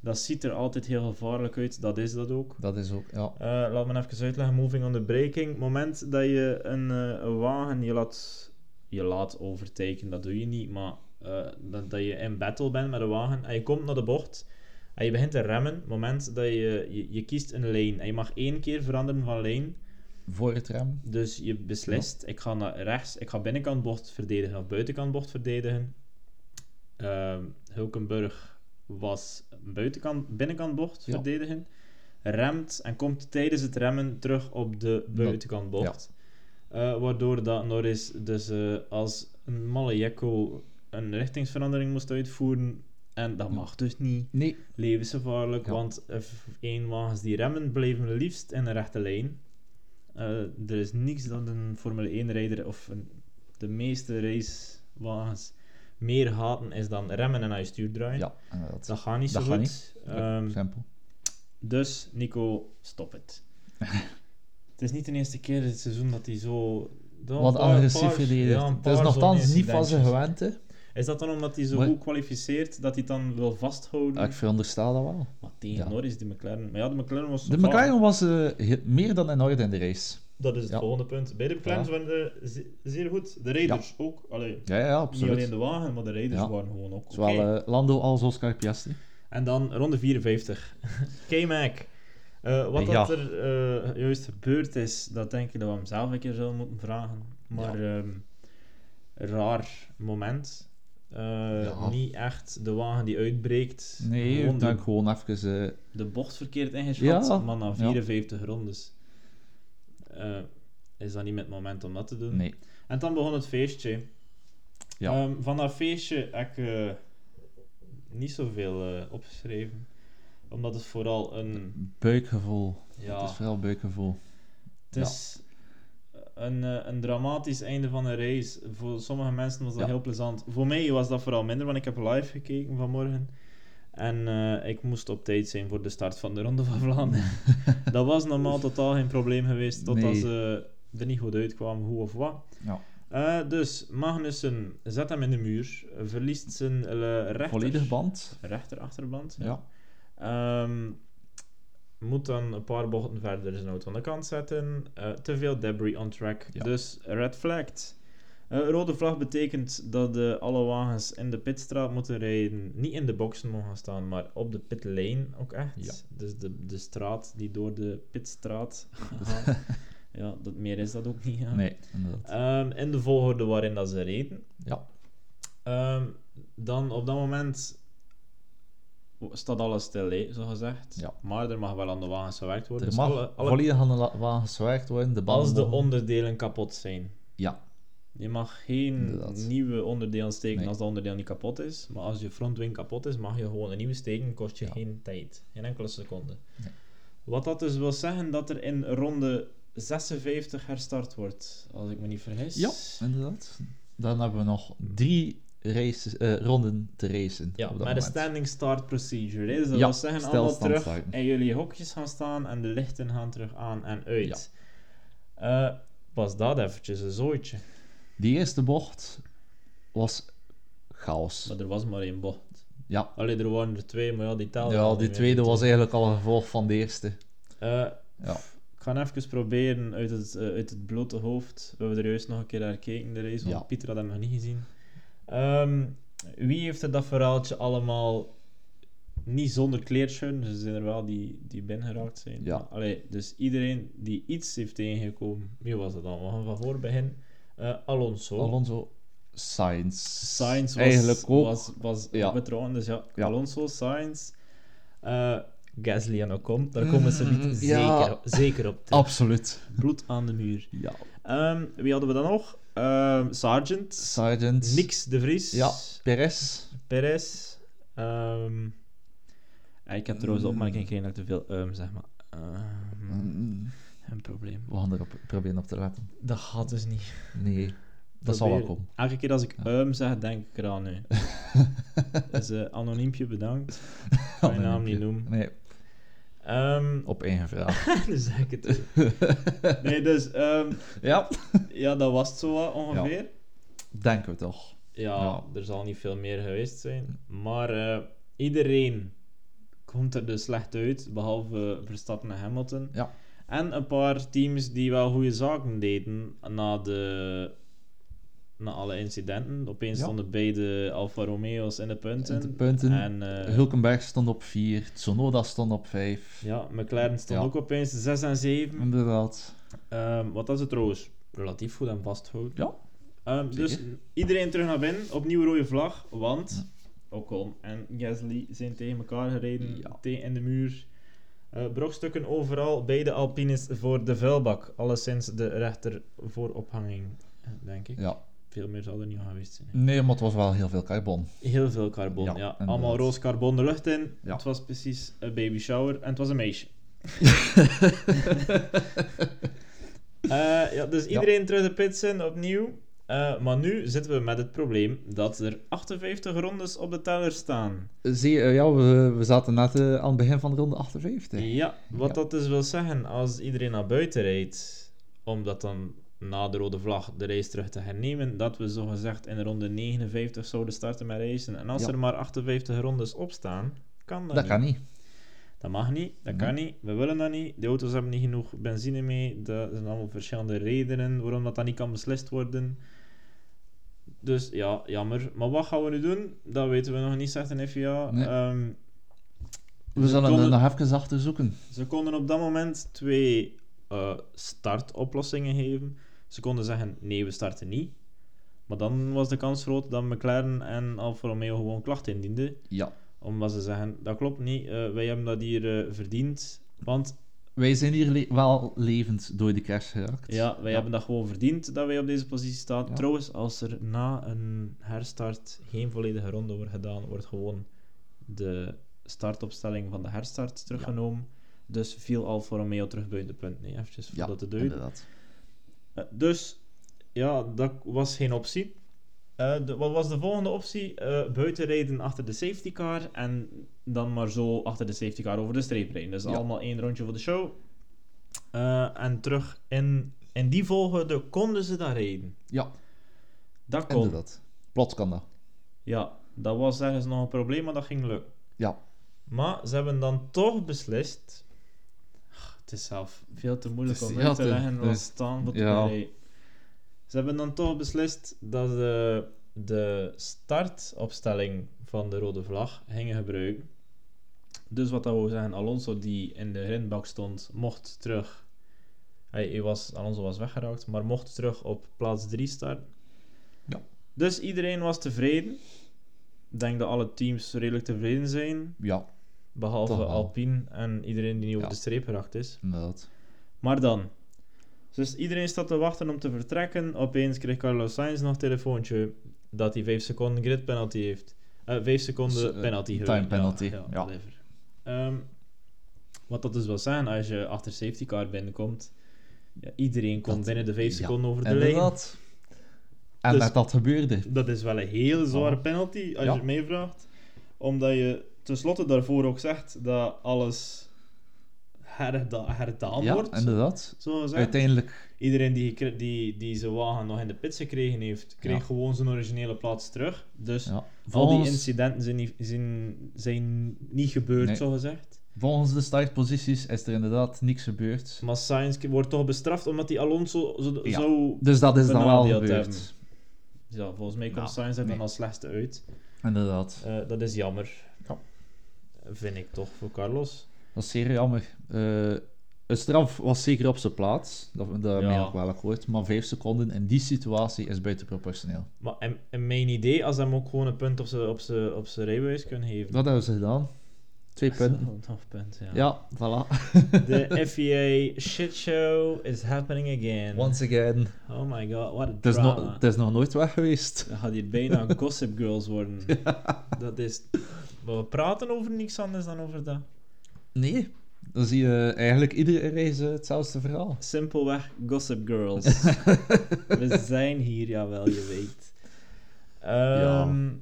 Dat ziet er altijd heel gevaarlijk uit, dat is dat ook.
dat is ook... Ja.
Eh, laat me even uitleggen, moving on the braking. moment dat je een, eh, een wagen je laat, je laat overtaken, dat doe je niet, maar eh, dat, dat je in battle bent met een wagen en je komt naar de bocht en je begint te remmen, moment dat je, je, je kiest een lane en je mag één keer veranderen van lane,
Voor het rem.
dus je beslist, ik ga naar rechts, ik ga binnenkant bocht verdedigen of buitenkant bocht verdedigen. Ehm, Hulkenburg was buitenkant, binnenkant bocht
Ja.
verdedigen, remt en komt tijdens het remmen terug op de buitenkant bocht. Eh, waardoor dat Norris dus eh, als een malle jekko een richtingsverandering moest uitvoeren. En dat mag dus niet.
Nee.
Levensgevaarlijk,
Ja.
want eh, F1-wagens die remmen blijven liefst in een rechte lijn. Eh, er is niks dat een Formule 1-rijder of een, de meeste racewagens meer haten is dan remmen en naar je stuur draaien.
Ja, inderdaad.
Dat gaat niet
Dat
zo
gaat
goed. Ehm,
Simpel.
dus, Nico, stop het. het is niet de eerste keer dit seizoen dat hij zo... dat
Wat
een paar-
agressief
paar-
verdedigd.
ja, een
dat is
paar
nogthans
zo'n Mm.
niet van zijn
incidentjes.
gewend, hè.
Is dat dan omdat hij zo
Maar-
goed kwalificeert, dat hij het dan wil vasthouden?
Ik veronderstel dat wel.
Maar tegen
Ja.
Norris, die McLaren. Maar ja, de McLaren was...
De
vaak-
McLaren was eh, he- meer dan in orde in de race.
Dat is het
Ja.
volgende punt. Beide McLaren's
Voilà.
waren eh, ze- zeer goed. De rijders ook. Allee,
Ja, ja,
niet
absoluut.
alleen de wagen, maar de rijders
Ja.
waren gewoon ook oké.
Zowel eh, Lando als Oscar Piastri.
En dan ronde 54. K-Mac. Eh, wat dat
Ja.
er eh, juist gebeurd is, dat denk ik dat we hem zelf een keer zullen moeten vragen. Maar ehm, raar moment. Eh,
Ja.
Niet echt de wagen die uitbreekt.
Nee,
Gewoon
ik
de,
denk gewoon even... eh,
de bocht verkeerd ingeschat,
Ja.
maar na
Ja.
54 rondes. Eh, is dat niet met het moment om dat te doen?
nee.
En dan begon het feestje.
Ja.
Ehm, van dat feestje heb ik eh, niet zoveel eh, opgeschreven. Omdat het vooral een...
Buikgevoel.
Ja,
Het is vooral buikgevoel.
het is een, eh, een dramatisch einde van een race. Voor sommige mensen was dat
Ja.
heel plezant. Voor mij was dat vooral minder, want ik heb live gekeken vanmorgen. En eh, ik moest op tijd zijn voor de start van de Ronde van Vlaanderen. dat was normaal totaal geen probleem geweest, totdat
Nee.
ze er niet goed uitkwamen, hoe of wat.
Ja.
Eh, dus Magnussen zet hem in de muur, verliest zijn eh, rechter,
Volledig band.
rechterachterband.
Ja.
Ehm, moet dan een paar bochten verder zijn auto aan de kant zetten. Eh, te veel debris on track,
Ja.
dus red flagged. Eh, rode vlag betekent dat eh, alle wagens in de pitstraat moeten rijden. Niet in de boxen mogen staan, maar op de pitlane ook echt.
Ja.
Dus de, de straat die door de pitstraat gaat. ja, dat, meer is dat ook niet. ja.
Nee, inderdaad.
Ehm, in de volgorde waarin dat ze reden.
Ja.
Ehm, dan op dat moment staat alles stil, hè, zo gezegd.
Ja.
Maar er mag wel aan de wagens gewerkt worden.
Er
Dus
mag
alle- alle-
volledig aan de la- wagen zwaard worden. De banden
als de
mogen-
onderdelen kapot zijn.
Ja.
Je mag geen
Inderdaad.
nieuwe onderdelen steken
Nee.
als dat onderdeel niet kapot is. Maar als je frontwing kapot is, mag je gewoon een nieuwe steken. Kost je
Ja.
geen tijd. Geen enkele seconde.
Nee.
Wat dat dus wil zeggen dat er in ronde 56 herstart wordt. Als ik me niet vergis.
Ja, inderdaad. Dan hebben we nog drie races, eh, ronden te racen.
Ja,
op
met
dat
de
moment.
standing start procedure. Hè? Dus dat
Ja,
wil zeggen, allemaal
stilstand
terug
starten.
in jullie hokjes gaan staan en de lichten gaan terug aan en uit. Eh, was dat eventjes een zooitje.
Die eerste bocht was chaos.
Maar er was maar één bocht.
Ja.
Allee, er waren er twee, maar ja, die telde.
Ja,
al
die
niet
tweede
meer.
was eigenlijk al een gevolg van de eerste.
Eh,
Ja.
ik ga even proberen uit het, eh, uit het blote hoofd. We hebben er juist nog een keer naar gekeken, de race, want
Ja.
Pieter had hem nog niet gezien. Ehm, wie heeft er dat verhaaltje allemaal niet zonder kleertje? Ze zijn er wel die, die binnengeraakt zijn.
Ja.
Allee, dus iedereen die iets heeft tegengekomen. Wie was dat dan? We gaan van voor beginnen. Eh, Alonso.
Alonso, Science.
Sainz was,
Eigenlijk ook.
was, was
Ja.
withdrawn, dus ja,
Ja.
Alonso, Sainz, eh, Gasly en Ocon, daar komen ze niet
Mm,
zeker,
ja.
zeker op terug.
Absoluut.
Bloed aan de muur.
Ja.
Ehm, wie hadden we dan nog? Ehm Sargent,
Sergeant.
Nix de Vries,
Ja. Perez.
Perez. ehm, ah, ik heb trouwens de opmerking gekregen dat ik te veel ehm zeg, maar ehm,
Mm,
een probleem.
We gaan erop proberen op te letten.
Dat gaat dus niet.
Nee, dat zal wel
Probeer-
komen.
Elke keer als ik ehm zeg, denk ik eraan nu. dus eh, anoniempje bedankt. Ik kan je naam niet noemen.
Nee,
Ehm,
op één vraag.
dan zeg ik het ook. Nee, dus ehm,
ja,
ja, dat was het zo wat ongeveer. Ja.
denken we toch. Ja.
er zal niet veel meer geweest zijn. Maar eh, iedereen komt er dus slecht uit, behalve Verstappen en Hamilton.
Ja.
En een paar teams die wel goede zaken deden na, de, na alle incidenten. Opeens
Ja.
stonden beide Alfa Romeo's in de punten.
In de punten.
En, eh,
Hulkenberg stond op 4, Tsunoda stond op 5.
ja, McLaren stond
Ja.
ook opeens 6 en 7.
Inderdaad.
Ehm, wat dat ze trouwens relatief goed aan vasthouden.
Ja.
Ehm, dus
Zeker.
iedereen terug naar binnen, opnieuw rode vlag, want Ocon en Gasly zijn tegen elkaar gereden,
Ja.
tegen in de muur. Eh brokstukken overal, beide Alpines voor de vuilbak. Alleszins de rechter voor ophanging, eh, denk ik.
Ja.
Veel meer zal er niet aan geweest zijn. hè.
Nee, maar het was wel heel veel carbon.
Heel veel carbon,
Ja,
ja.
inderdaad.
Allemaal roos carbon de lucht in.
Ja.
Het was precies een baby shower en het was een meisje. Eh, ja, dus iedereen terug de pits in opnieuw. Eh, maar nu zitten we met het probleem dat er 58 rondes op de teller staan.
Zie je, eh, ja, we, we zaten net eh, aan het begin van de ronde 58.
Ja, wat
Ja.
dat dus wil zeggen, als iedereen naar buiten rijdt, omdat dan na de rode vlag de race terug te hernemen, dat we zogezegd in ronde 59 zouden starten met racen. En als
Ja.
er maar 58 rondes op staan, kan dat,
Dat
niet.
kan niet.
Dat mag niet, dat kan niet, we willen dat niet. De auto's hebben niet genoeg benzine mee. Dat zijn allemaal verschillende redenen waarom dat, dat niet kan beslist worden. Dus ja, jammer. Maar wat gaan we nu doen? Dat weten we nog niet, zegt een FIA.
Nee.
Ehm,
We zullen
konden-
er nog even achter zoeken.
ze konden op dat moment twee eh, startoplossingen geven. Ze konden zeggen, nee, we starten niet. Maar dan was de kans groot dat McLaren en Alfa Romeo gewoon klachten indienden.
Ja.
Omdat ze zeggen, dat klopt niet, eh, wij hebben dat hier eh, verdiend. Want
Wij zijn hier le- wel levend door de crash geraakt.
Ja, wij hebben dat gewoon verdiend dat wij op deze positie staan.
Ja.
Trouwens, als er na een herstart geen volledige ronde wordt gedaan, wordt gewoon de startopstelling van de herstart teruggenomen. Dus viel Alfa Romeo terug buiten de punt. Nee, eventjes
Ja,
voordat het duurt.
inderdaad.
Eh, Dus ja, dat was geen optie. Eh, de- wat was de volgende optie? Eh buiten rijden achter de safety car en dan maar zo achter de safety car over de streep rijden. Dus
Ja.
allemaal één rondje voor de show. Eh, en terug in, in die volgorde konden ze daar rijden.
Ja,
Dat kon.
inderdaad. Plots kan dat.
Ja, dat was ergens nog een probleem, maar dat ging lukken.
Ja.
Maar ze hebben dan toch beslist. Ach, het is zelf veel te moeilijk
Het is-
om
ja,
uit te
het is-
leggen wat
dus-
staan voor de
ja.
rij. Ze hebben dan toch beslist dat ze de startopstelling van de rode vlag gingen gebruiken. Dus wat dat wil zeggen, Alonso die in de grindbak stond, mocht terug. Hij, hij was, Alonso was weggeraakt, maar mocht terug op plaats 3 starten.
Ja.
Dus iedereen was tevreden. Ik denk dat alle teams redelijk tevreden zijn.
Ja,
Behalve
Toch wel.
Alpine en iedereen die nu
Ja.
over de streep geraakt is.
inderdaad.
Maar dan. Dus iedereen staat te wachten om te vertrekken. Opeens kreeg Carlos Sainz nog een telefoontje dat hij 5 seconden grid penalty heeft. Eh 5 seconden
Dus, eh,
penalty.
time
gewoon. Ja,
penalty,
Ja,
ja.
whatever. Ehm, wat dat dus wil zijn, als je achter safety car binnenkomt. Ja, iedereen komt
Dat-
binnen de 5
ja,
seconden over de lijn.
Inderdaad. En
Dus-
met dat gebeurde.
Dat is wel een heel zware
Ja.
penalty, als je
Ja.
het mij vraagt. Omdat je tenslotte daarvoor ook zegt dat alles herda herdaan
Ja,
wordt.
inderdaad.
Zo gezegd.
Uiteindelijk,
Iedereen die, gekre- die, die zijn wagen nog in de pits gekregen heeft, kreeg
Ja.
gewoon zijn originele plaats terug. Dus
ja.
al die
volgens,
incidenten zijn niet, zijn, zijn niet gebeurd,
Nee.
zo gezegd.
volgens de startposities is er inderdaad niks gebeurd.
Maar Sainz wordt toch bestraft omdat die Alonso zo,
Ja.
zo
Dus dat is dan wel
Benadeeld
gebeurd.
hebben. ja, volgens mij komt
Nou,
Sainz er dan
nee.
als slechtste uit.
Inderdaad.
Eh, dat is jammer.
Ja.
Vind ik toch voor Carlos.
Dat is zeer jammer. Eh, een straf was zeker op zijn plaats. Dat, dat
Ja.
ben ik wel akkoord. Maar vijf seconden in die situatie is buitenproportioneel.
Maar in, in mijn idee, als ze hem ook gewoon een punt op zijn op z'n- op z'n rijbewijs kunnen geven.
Dat hebben ze gedaan. Twee punten.
Zo'n hoofdpunt, ja.
Ja, voilà.
De FIA shit show is happening again.
Once again.
Oh my god, what a
Het is,
drama.
nog- het is nog nooit weg geweest.
Dan gaat hier bijna Gossip Girls worden. Dat is... Maar we praten over niks anders dan over dat.
Nee. Dan zie je eigenlijk iedere race eh, hetzelfde verhaal.
Simpelweg Gossip Girls. we zijn hier, jawel, je weet. Ehm,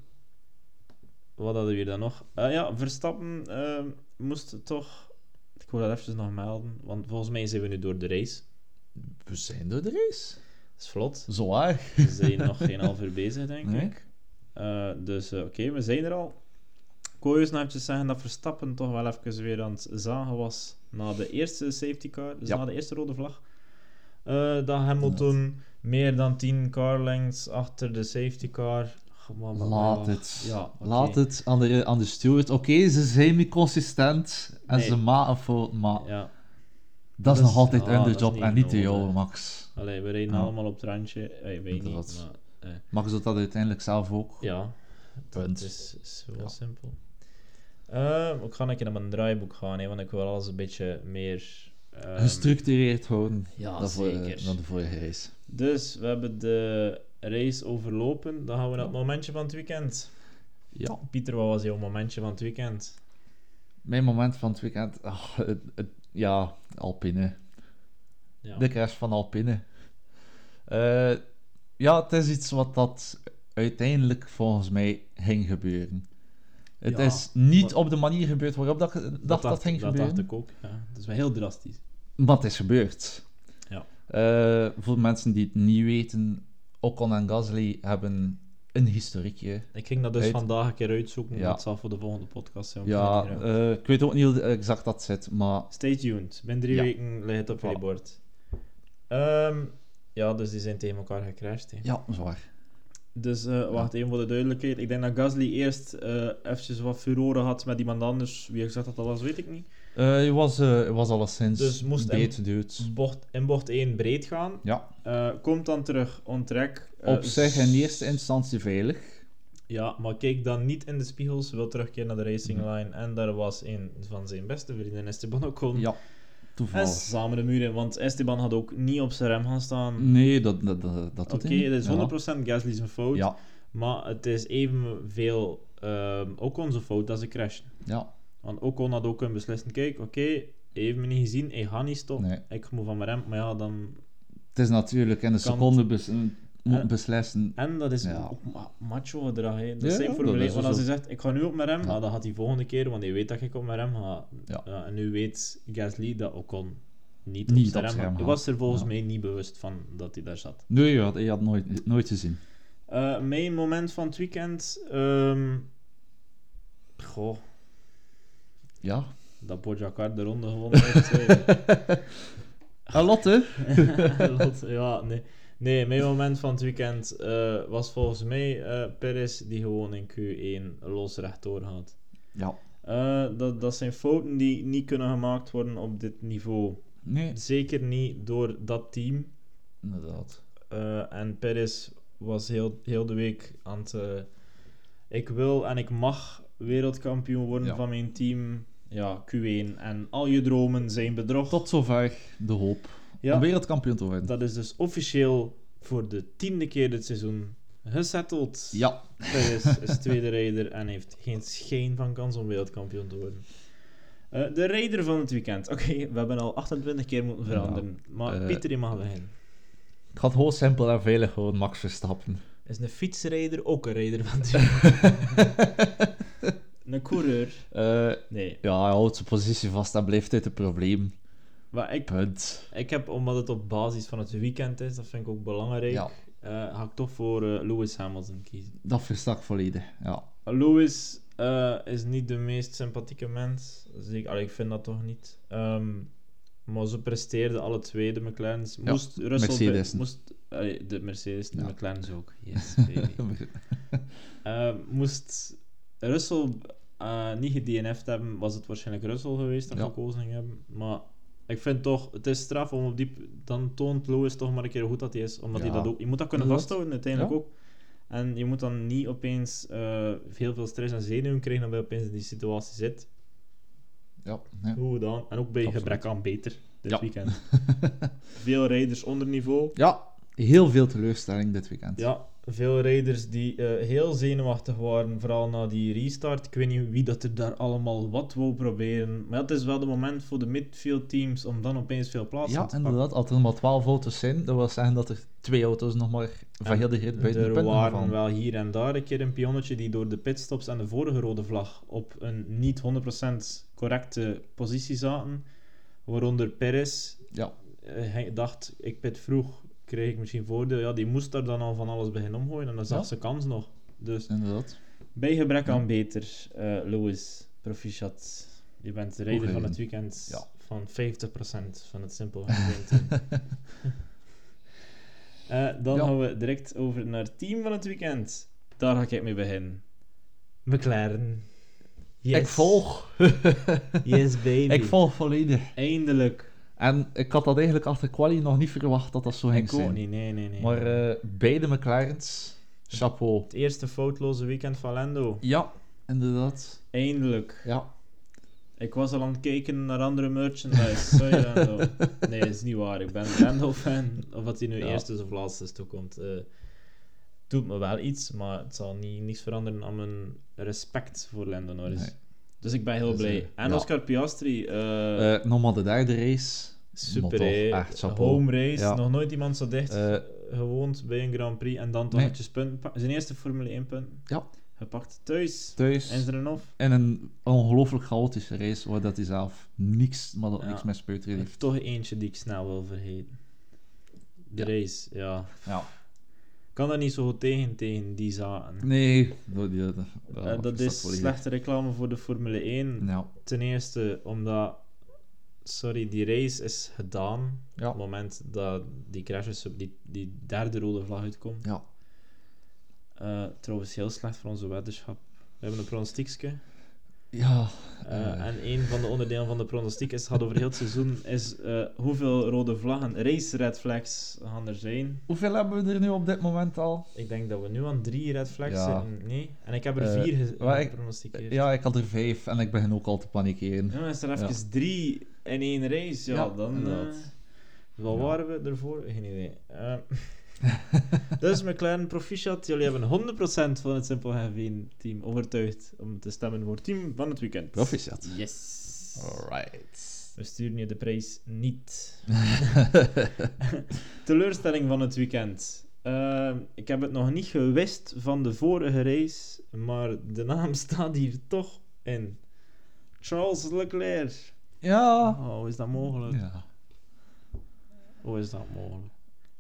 Wat hadden we hier dan nog? Eh, ja, Verstappen ehm, moest toch... Ik wil dat even nog melden, want volgens mij zijn we nu door de race.
We zijn door de race.
Dat is vlot.
Zwaar.
We zijn nog geen half uur bezig, denk
Nee.
ik. Eh, dus eh, oké, we zijn er al. Ik wou juist nog even zeggen dat Verstappen toch wel even weer aan het zagen was na de eerste safety car, dus
Ja.
na de eerste rode vlag. Eh dat Hamilton meer dan 10 car lengths achter de safety car. Goh, maar- maar-
Laat
ja.
het.
Ja, oké.
Laat het aan de, aan de steward. Oké, ze zijn niet consistent en
Nee.
ze maken een fout, maar
Ja,
dat
dat
is nog
is-
altijd
ah,
hun
dat is
job
niet
en niet de
nodig.
jouwe, Max.
Allee, we reden
Ja.
allemaal op het randje. Eh, Ik weet niet,
Inderdaad.
maar eh,
Max doet dat uiteindelijk zelf ook.
ja,
Punt.
het is, is wel
Ja.
simpel. Eh, ik ga een keer naar mijn draaiboek gaan, hè, want ik wil alles een beetje meer... ehm,
Gestructureerd houden.
Ja,
dan voor-
zeker.
dan de vorige race.
Dus we hebben de race overlopen. Dan gaan we naar het momentje van het weekend.
Ja.
Pieter, wat was jouw momentje van het weekend?
Mijn moment van het weekend... ah, het- het- ja, Alpine.
Ja.
De crash van Alpine. Eh, ja, het is iets wat dat uiteindelijk volgens mij ging gebeuren. Het
Ja,
is niet
wat-
op de manier gebeurd waarop dat ik dacht dat, ging
dat
gebeuren.
dacht ik ook. Ja. Dat is wel heel drastisch.
Maar het is gebeurd.
Ja.
Eh, voor mensen die het niet weten, Ocon en Gasly hebben een historiekje.
Ik ging dat dus
Uit-
vandaag een keer uitzoeken.
Ja.
Dat zal voor de volgende podcast zijn.
Ja,
Misschien-
eh, ik weet ook niet hoe exact dat zit, maar
Stay tuned. Binnen drie
Ja.
weken ligt het op jullie
Voilà.
bord. Ehm, ja, dus die zijn tegen elkaar gecrashed. hè.
ja, zwaar.
Dus eh, wacht even voor de duidelijkheid. Ik denk dat Gasly eerst eh eventjes wat furore had met iemand anders. Wie exact dat dat was, weet ik niet.
Eh, je was, eh, je was alleszins
Dus moest hem-
beter duwd.
Bocht, in bocht 1 breed gaan.
Ja,
Eh, komt dan terug, onttrek. eh,
op zich in
s-
eerste instantie veilig.
Ja, maar kijk dan niet in de spiegels. Wil terugkeren naar de racing
Mm-hmm.
line. En daar was een van zijn beste vrienden, Esteban Ocon.
Ja,
En
toevallig.
samen de muren, want Esteban had ook niet op zijn rem gaan staan.
Nee, dat, dat, dat, Mm, dat doet
Oké,
hij niet.
dat is
Ja.
100% Gasly zijn fout.
Ja,
Maar het is evenveel ehm Ocon zijn fout dat ze crashen.
ja,
Want Ocon had ook kunnen beslissen: kijk, oké, hij heeft me niet gezien, ik ga niet stoppen.
nee.
Ik moet van mijn rem. Maar ja, dan.
Het is natuurlijk in de
Kant.
seconde bes- moet
Eh.
beslissen.
En dat is
Ja.
ook ma- macho gedrag. Hè. Dat is
Ja,
zijn
dat
formule.
is
één, Want als
zo.
hij zegt: ik ga nu op mijn rem,
Ja.
ah, dan gaat hij volgende keer, want hij weet dat ik op mijn rem ga.
Ja.
Ja, en nu weet Gasly dat Ocon niet,
Niet
op zijn
op
rem
zijn rem
Hij
gaat.
was er volgens
Ja.
mij niet bewust van dat hij daar zat.
Nee, je had, je had nooit, nooit gezien.
Eh, mijn moment van het weekend. ehm, goh,
Ja,
dat Bojacar de ronde gewonnen heeft. eh.
Ah, Lotte?
Lot, ja, nee. Nee, mijn moment van het weekend eh, was volgens mij eh Perez die gewoon in Q1 los rechtdoor gaat.
Ja.
Eh, dat, dat zijn fouten die niet kunnen gemaakt worden op dit niveau.
Nee,
Zeker niet door dat team.
inderdaad.
Eh, en Perez was heel, heel de week aan het... eh, ik wil en ik mag wereldkampioen worden
Ja.
van mijn team. Ja, Q1. En al je dromen zijn bedrog.
Tot zover de hoop om
ja,
wereldkampioen te worden.
dat is dus officieel voor de tiende keer dit seizoen gesetteld.
Ja,
Perez is tweede rijder en heeft geen schijn van kans om wereldkampioen te worden. Eh, de rijder van het weekend. Oké, we hebben al 28 keer moeten veranderen. maar
eh,
Pieter, je mag beginnen.
ik had gewoon simpel en veilig gewoon Max Verstappen.
Is een fietsrijder ook een rijder van het weekend? Een coureur?
Eh,
Nee.
ja, hij houdt zijn positie vast en blijft uit het probleem.
Maar ik,
Punt.
ik heb, omdat het op basis van het weekend is, dat vind ik ook belangrijk,
Ja,
eh, ga ik toch voor eh, Lewis Hamilton kiezen.
dat versta ik volledig. Ja.
Lewis eh, is niet de meest sympathieke mens. Zeker, allee, ik vind dat toch niet. Ehm, Maar ze presteerden alle twee, de McLaren's.
Ja,
Moest Russell...
Mercedes.
bij- Moest, allee, de Mercedes, de
Ja.
McLaren's ook. Yes, baby. Eh, moest Russell eh, niet gedNF'd hebben, was het waarschijnlijk Russell geweest dat
Ja.
gekozen ging hebben. Maar ik vind toch, het is straf om op die... p- Dan toont Lewis toch maar een keer hoe goed dat hij is. Omdat hij
Ja.
dat ook... Je moet dat kunnen
Inderdaad.
vasthouden uiteindelijk
Ja.
ook. En je moet dan niet opeens eh, heel veel stress en zenuwen krijgen omdat je opeens in die situatie zit.
ja, ja.
Goed gedaan. En ook bij
Absoluut.
gebrek aan beter dit
Ja.
weekend. Veel rijders onder niveau.
ja, heel veel teleurstelling dit weekend.
Ja, veel rijders die eh, heel zenuwachtig waren, vooral na die restart. Ik weet niet wie dat er daar allemaal wat wou proberen. Maar dat is wel het moment voor de midfield teams om dan opeens veel plaats
Ja,
aan te pakken.
inderdaad. Als er maar 12 auto's zijn, dat wil zeggen dat er twee auto's nog maar van
En
heel de grid buiten de
Er
punten
waren
vallen.
wel hier en daar een keer een pionnetje die door de pitstops en de vorige rode vlag op een niet 100% correcte positie zaten. Waaronder Perez.
Ja.
Eh, hij dacht, ik pit vroeg, kreeg ik misschien voordeel. Ja, die moest daar dan al van alles beginnen omgooien en dan zag
Ja.
ze kans nog. Dus
Inderdaad.
Bij gebrek aan beter, eh Louis, proficiat. Je bent de rijder van het weekend
Ja.
van 50% van het simpel gedeelte. Eh, dan
Ja.
gaan we direct over naar het team van het weekend. Daar ga ik mee beginnen. McLaren. Yes.
Ik volg.
Yes, baby.
ik volg volledig.
Eindelijk.
En ik had dat eigenlijk achter quali nog niet verwacht dat dat zo ging
Ik ook
zijn.
niet, nee, nee, nee.
Maar eh, beide McLaren's, chapeau.
Het eerste foutloze weekend van Lando.
Ja, inderdaad.
Eindelijk.
Ja.
Ik was al aan het kijken naar andere merchandise. Sorry, Rando. Nee, is niet waar. Ik ben Randall-fan. Of wat hij nu
Ja.
eerst is of laatst is toekomt. eh doet me wel iets, maar het zal niet, niks veranderen aan mijn respect voor Lando Norris.
Nee.
Dus ik ben heel
Dus,
blij.
eh,
en
ja.
Oscar Piastri. eh,
Eh nog maar de derde race.
super,
maar toch,
hè.
echt chapeau.
Home race.
Ja.
Nog nooit iemand zo dicht
Eh,
gewoond bij een Grand Prix. En dan toch
Nee.
netjes punten pakken. Zijn eerste Formule 1 punt.
Ja.
Gepakt thuis.
thuis.
En zijn of?
En een ongelooflijk chaotische race waar dat hij zelf niks, maar dat
Ja.
niks mee speutreden
Ik heb
heeft.
toch eentje die ik snel wil vergeten. De
Ja.
race, ja.
Ja.
Ik kan daar niet zo goed tegen, tegen die zaken.
Nee, dat, die- dat-
Eh,
dat
dat
volledig.
is slechte reclame voor de Formule 1.
Ja.
Ten eerste omdat, sorry, die race is gedaan.
Ja.
Op het moment dat die crashes op die, die derde rode vlag uitkomt.
ja.
Eh, trouwens, heel slecht voor onze weddenschap. We hebben een pronostiekje.
Ja.
Eh,
Eh.
En een van de onderdelen van de pronostiek is, gaat over heel het seizoen, is eh, hoeveel rode vlaggen, race red flags, gaan er zijn.
Hoeveel hebben we er nu op dit moment al?
Ik denk dat we nu aan drie red flags
Ja.
zitten. Nee? En ik heb er
Eh,
vier ge-
maar ik-
gepronosticeerd. Ja.
Ja, ik had er vijf en ik begin ook al te panikeren.
Dan is er even drie in één race. Ja,
Ja,
dan... eh
inderdaad.
wat
Ja.
waren we ervoor? Geen idee. Eh, dus McLaren, proficiat. Jullie hebben 100% van het Simpel F1-team overtuigd om te stemmen voor team van het weekend.
Proficiat.
Yes.
Alright.
We sturen je de prijs niet. Teleurstelling van het weekend. Ehm, ik heb het nog niet gewist van de vorige race, maar de naam staat hier toch in. Charles Leclerc.
Ja.
Oh, hoe is dat mogelijk?
Ja.
Hoe is dat mogelijk?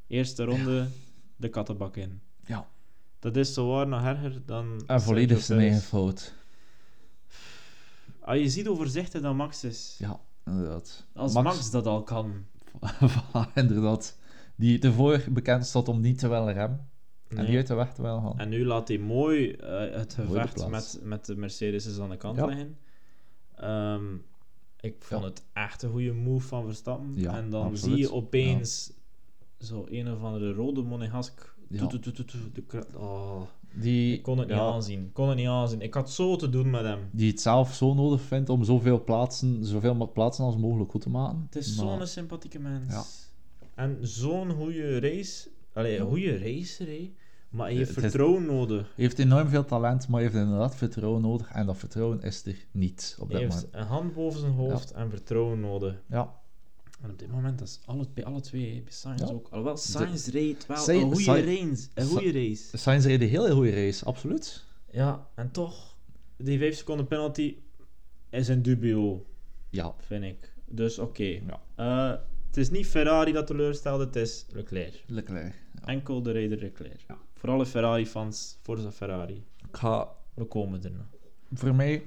Eerste ronde, de kattenbak in.
ja.
Dat is zo waar nog erger dan...
En Ah, volledig
Sergio
zijn
Perez.
eigen fout.
Ah, je ziet overzichtig dat Max is.
Ja, inderdaad.
Als Max,
Max- Ah,
dat al kan.
Voilà, inderdaad. Die ervoor bekend stond om niet te wel remmen. En
Nee.
die uit de weg te wel gaan.
En nu laat hij mooi eh, het gevecht
plaats.
met, met de Mercedes aan de kant
Ja.
liggen. Ehm, ik vond
Ja.
het echt een goede move van Verstappen.
Ja,
en dan
absoluut.
zie je opeens zo een of andere rode Monegask.
Ja.
Toe, toe, toe, toe, toe, de kra- oh,
Die,
ik kon het
ja,
niet aanzien. Ik kon het niet aanzien. Ik had zo te doen met hem.
Die het zelf zo nodig vindt om zoveel plaatsen, zoveel mo- plaatsen als mogelijk goed te maken.
Het is
Maar-
zo'n sympathieke mens.
Ja.
En zo'n goede race. Allee, een goede racer, hè. Maar je
Eh,
heeft
het is-
vertrouwen nodig.
Hij heeft enorm veel talent, maar hij heeft inderdaad vertrouwen nodig. En dat vertrouwen is er niet op
Hij
dat
heeft
moment.
een hand boven zijn hoofd en vertrouwen nodig.
Ja.
En op dit moment dat is alle, bij alle twee, hè, bij Sainz
Ja.
ook. Alhoewel, Sainz reed wel
Sainz-
een goede
Sainz-
race. Een
Sa-
goede race.
Sainz reed een hele goede race, absoluut.
Ja, en toch, die 5 seconden penalty is een dubio,
Ja.
vind ik. Dus oké.
Ja.
Eh, het is niet Ferrari dat teleurstelde, het is Leclerc.
Leclerc. Ja.
Enkel de reden Leclerc. Voor alle Ferrari-fans, Forza Ferrari.
Ik ga
We komen er nog.
voor mij.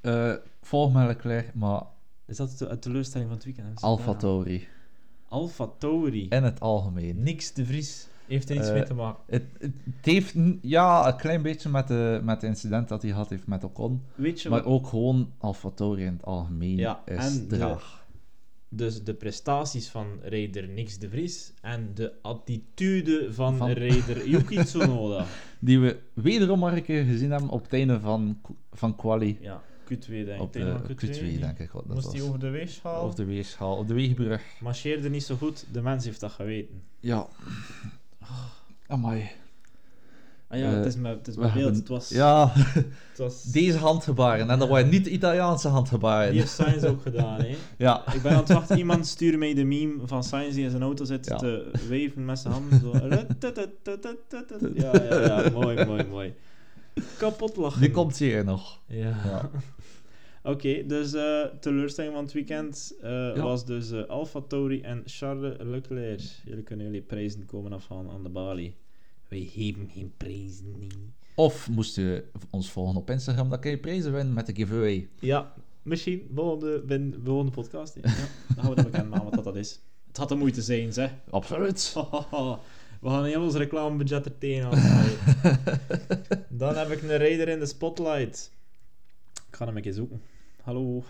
eh volg met Leclerc, maar
Is dat de teleurstelling van het weekend? Is dat
Alfa
daaraan?
Tauri.
Alfa Tauri.
In het algemeen.
Niks de Vries heeft er iets
Eh,
mee te maken.
Het, het heeft n- ja, een klein beetje met de, met de incident dat hij had heeft met Ocon.
Weet je
Maar
wat?
ook gewoon Alfa Tauri in het algemeen
Ja,
is
en de-
draag.
Dus de prestaties van Raider Nix de Vries en de attitude van,
Van-
Raider Yuki Tsunoda.
Die we wederom maar een keer gezien hebben op het einde van, van Quali.
ja, Q2 denk ik.
op
Tegen
de
elkaar
Q2,
niet?
denk ik. Wat dat
Moest
was.
hij over de wees halen?
Of de weegschaal, op de weegbrug.
Marcheerde niet zo goed, de mens heeft dat geweten.
Ja. Amai.
Ah ja,
Eh,
het is mijn, het is
we
mijn beeld.
hebben-
Het was,
Ja,
het was
deze handgebaren. En dat waren niet de Italiaanse handgebaren.
die heeft Science ook gedaan, hè.
Ja.
Ik ben aan het wachten, iemand stuurt mij de meme van Science die in zijn auto zit
Ja.
te waven met zijn handen. Zo. Rututututututu. Ja, ja, ja, mooi, mooi, mooi. Kapot lachen.
Die komt hier nog.
Ja.
Ja.
Oké, dus eh, teleurstelling van het weekend eh, was dus eh Alfa Tauri en Charles Leclerc. Jullie kunnen jullie prijzen komen afhalen aan de balie. Wij geven geen prijzen, nee.
Of moest je ons volgen op Instagram, dan kan je prijzen winnen met de giveaway.
Ja, misschien volgende, ben, volgende podcast. hè. Ja, dan gaan we dat bekendmaken wat dat, dat is. Het had de moeite zijn, zeg.
Absoluut.
Oh. We gaan heel ons reclamebudget er tegenaan. Dan heb ik een raider in de spotlight. Ik ga hem een keer zoeken. Hallo.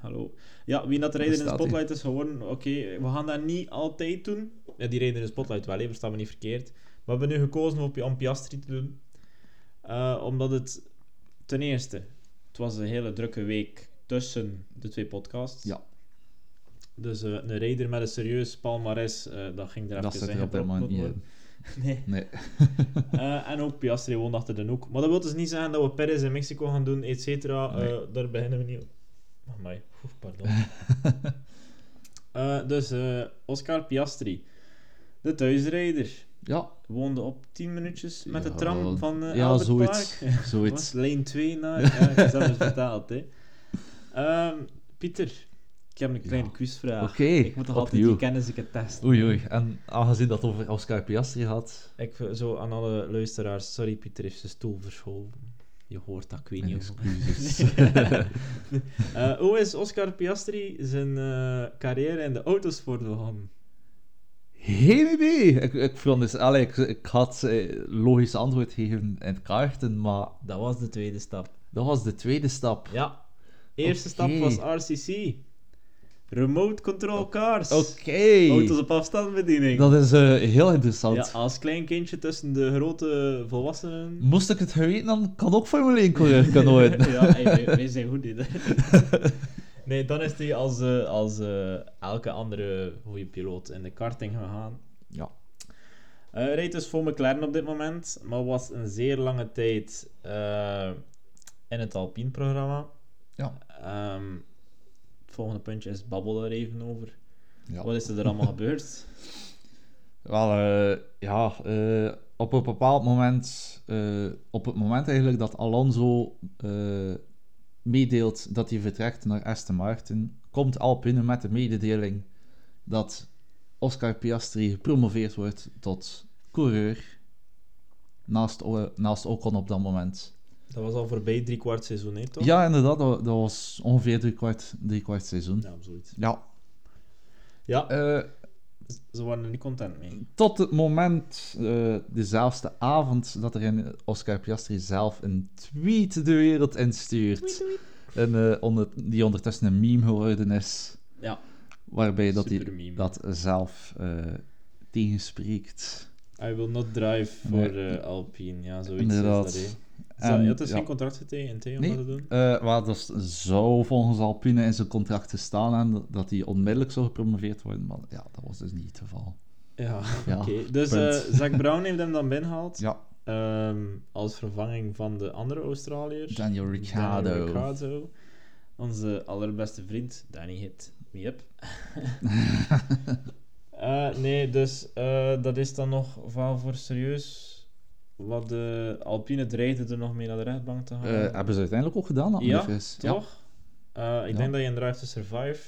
Hallo. Ja, wie dat raider in de
staat hij?
spotlight is geworden, oké, we gaan dat niet altijd doen. Ja, die raider in de spotlight wel, hè, verstaan me niet verkeerd. We hebben nu gekozen om Pi- om Piastri te doen. Eh, omdat het, ten eerste, het was een hele drukke week tussen de twee podcasts.
Ja.
Dus eh, een raider met een serieus palmares, eh, dat ging er
Dat
even
zit
in
er op de
gepropt
man niet
worden.
in.
Nee.
Nee.
Eh, en ook Piastri woont achter de hoek. Maar dat wil dus niet zeggen dat we Perez in Mexico gaan doen, et cetera.
Nee.
Eh, daar beginnen we niet op. Amai, oef, pardon. Eh, dus eh, Oscar Piastri, de thuisrijder,
Ja,
woonde op 10 minuutjes met de
Ja,
tram van eh
ja,
Albert
zoiets.
Park.
zoiets.
Was lijn 2 naar. Nou, Ja, ik heb het vertaald, hè. Ehm, Pieter, ik heb een kleine
Ja.
quizvraag.
Oké,
Ik moet toch altijd die
opnieuw.
kennis ik het test.
Oei, oei. En aangezien dat het over Oscar Piastri had,
Ik wil zo aan alle luisteraars, sorry Pieter heeft zijn stoel verschoven. Je hoort dat, ik weet
mijn
niet hoe.
excuses.
Eh, hoe is Oscar Piastri zijn eh, carrière in de auto's voortgegaan?
Geen idee. Ik, ik, vond dus, allee, ik, ik had eh, logisch antwoord gegeven in het kaarten, maar
Dat was de tweede stap.
dat was de tweede stap.
Ja. Eerste
Oké.
stap was RCC. Remote Control Cars.
Oké. Oh,
Auto's op afstandsbediening.
Dat is eh, heel interessant.
Ja, als klein kindje tussen de grote volwassenen.
Moest ik het geweten, dan kan ook Formule 1 coureur kunnen worden.
ja, hey, wij, wij zijn goed in. hè. nee, dan is hij als, eh, als eh, elke andere goede piloot in de karting gegaan.
ja.
Eh rijdt dus voor McLaren op dit moment, maar was een zeer lange tijd eh, in het Alpine-programma.
Ja.
Ehm, het volgende puntje is babbel daar even over.
ja.
Wat is er allemaal gebeurd?
Wel, eh, ja, eh, op een bepaald moment, eh, op het moment eigenlijk dat Alonso eh, meedeelt dat hij vertrekt naar Aston Martin, komt Alpine met de mededeling dat Oscar Piastri gepromoveerd wordt tot coureur naast, O- naast Ocon op dat moment.
Dat was al voorbij drie kwart seizoen, hè, toch?
Ja, inderdaad, dat, dat was ongeveer drie kwart, drie kwart seizoen.
Ja, zoiets.
Ja,
Ja,
eh,
ze waren er niet content mee.
Tot het moment, eh, dezelfde avond, dat er een Oscar Piastri zelf een tweet de wereld instuurt. Een, eh, onder, die ondertussen een meme geworden is.
Ja.
Waarbij dat
Super
hij
meme.
dat zelf eh, tegenspreekt.
I will not drive
Nee.
voor eh, Alpine. Ja, zoiets
Inderdaad.
is dat, hè. Zo,
En,
je had dus
ja.
geen contract getekend, hè, om
Nee.
dat te doen?
Eh, maar dat zou volgens Alpine in zijn contract te staan en dat hij onmiddellijk zou gepromoveerd worden. Maar ja, dat was dus niet het geval.
Ja,
Ja,
oké. Dus
punt.
eh Zack Brown heeft hem dan binnengehaald.
Ja,
Ehm, als vervanging van de andere Australiër.
Daniel Ricciardo.
Daniel Ricciardo. Onze allerbeste vriend, Danny Hit. Yep. Eh, nee, dus eh, dat is dan nog wel voor serieus. Wat de Alpine dreigde er nog mee naar de rechtbank te gaan.
Eh, hebben ze uiteindelijk ook gedaan, dat
Ja,
lief is. Ja,
Toch? Eh, ik
Ja.
denk dat je in Drive to Survive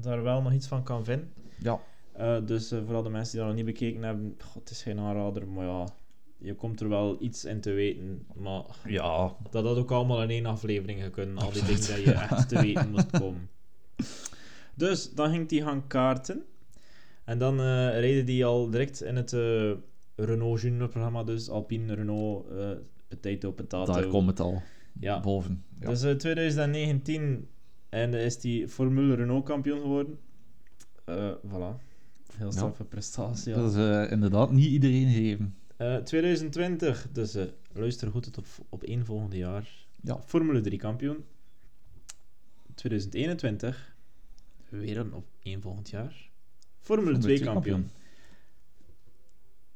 daar wel nog iets van kan vinden.
ja.
Eh, dus eh, vooral de mensen die dat nog niet bekeken hebben, god, het is geen aanrader, maar ja, je komt er wel iets in te weten. Maar
ja
dat had ook allemaal in één aflevering gekund, al die dingen
Absoluut.
dat je echt te weten moest komen. Dus dan ging hij gaan kaarten. En dan eh, reden die al direct in het eh, Renault Junior programma, dus Alpine, Renault, eh Potato, Potato.
Daar komt het al.
eh, Ja.
Boven. Ja.
Dus eh, 2019 en eh, is die Formule Renault kampioen geworden. Eh voilà. Heel straffe prestatie. al.
Dat is eh, inderdaad niet iedereen gegeven.
Eh, 2020, dus eh, luister goed, het op, op één volgende jaar.
Ja.
Formule 3 kampioen. 2021, weer een op één volgend jaar. Formule 2
twee
kampioen.
kampioen.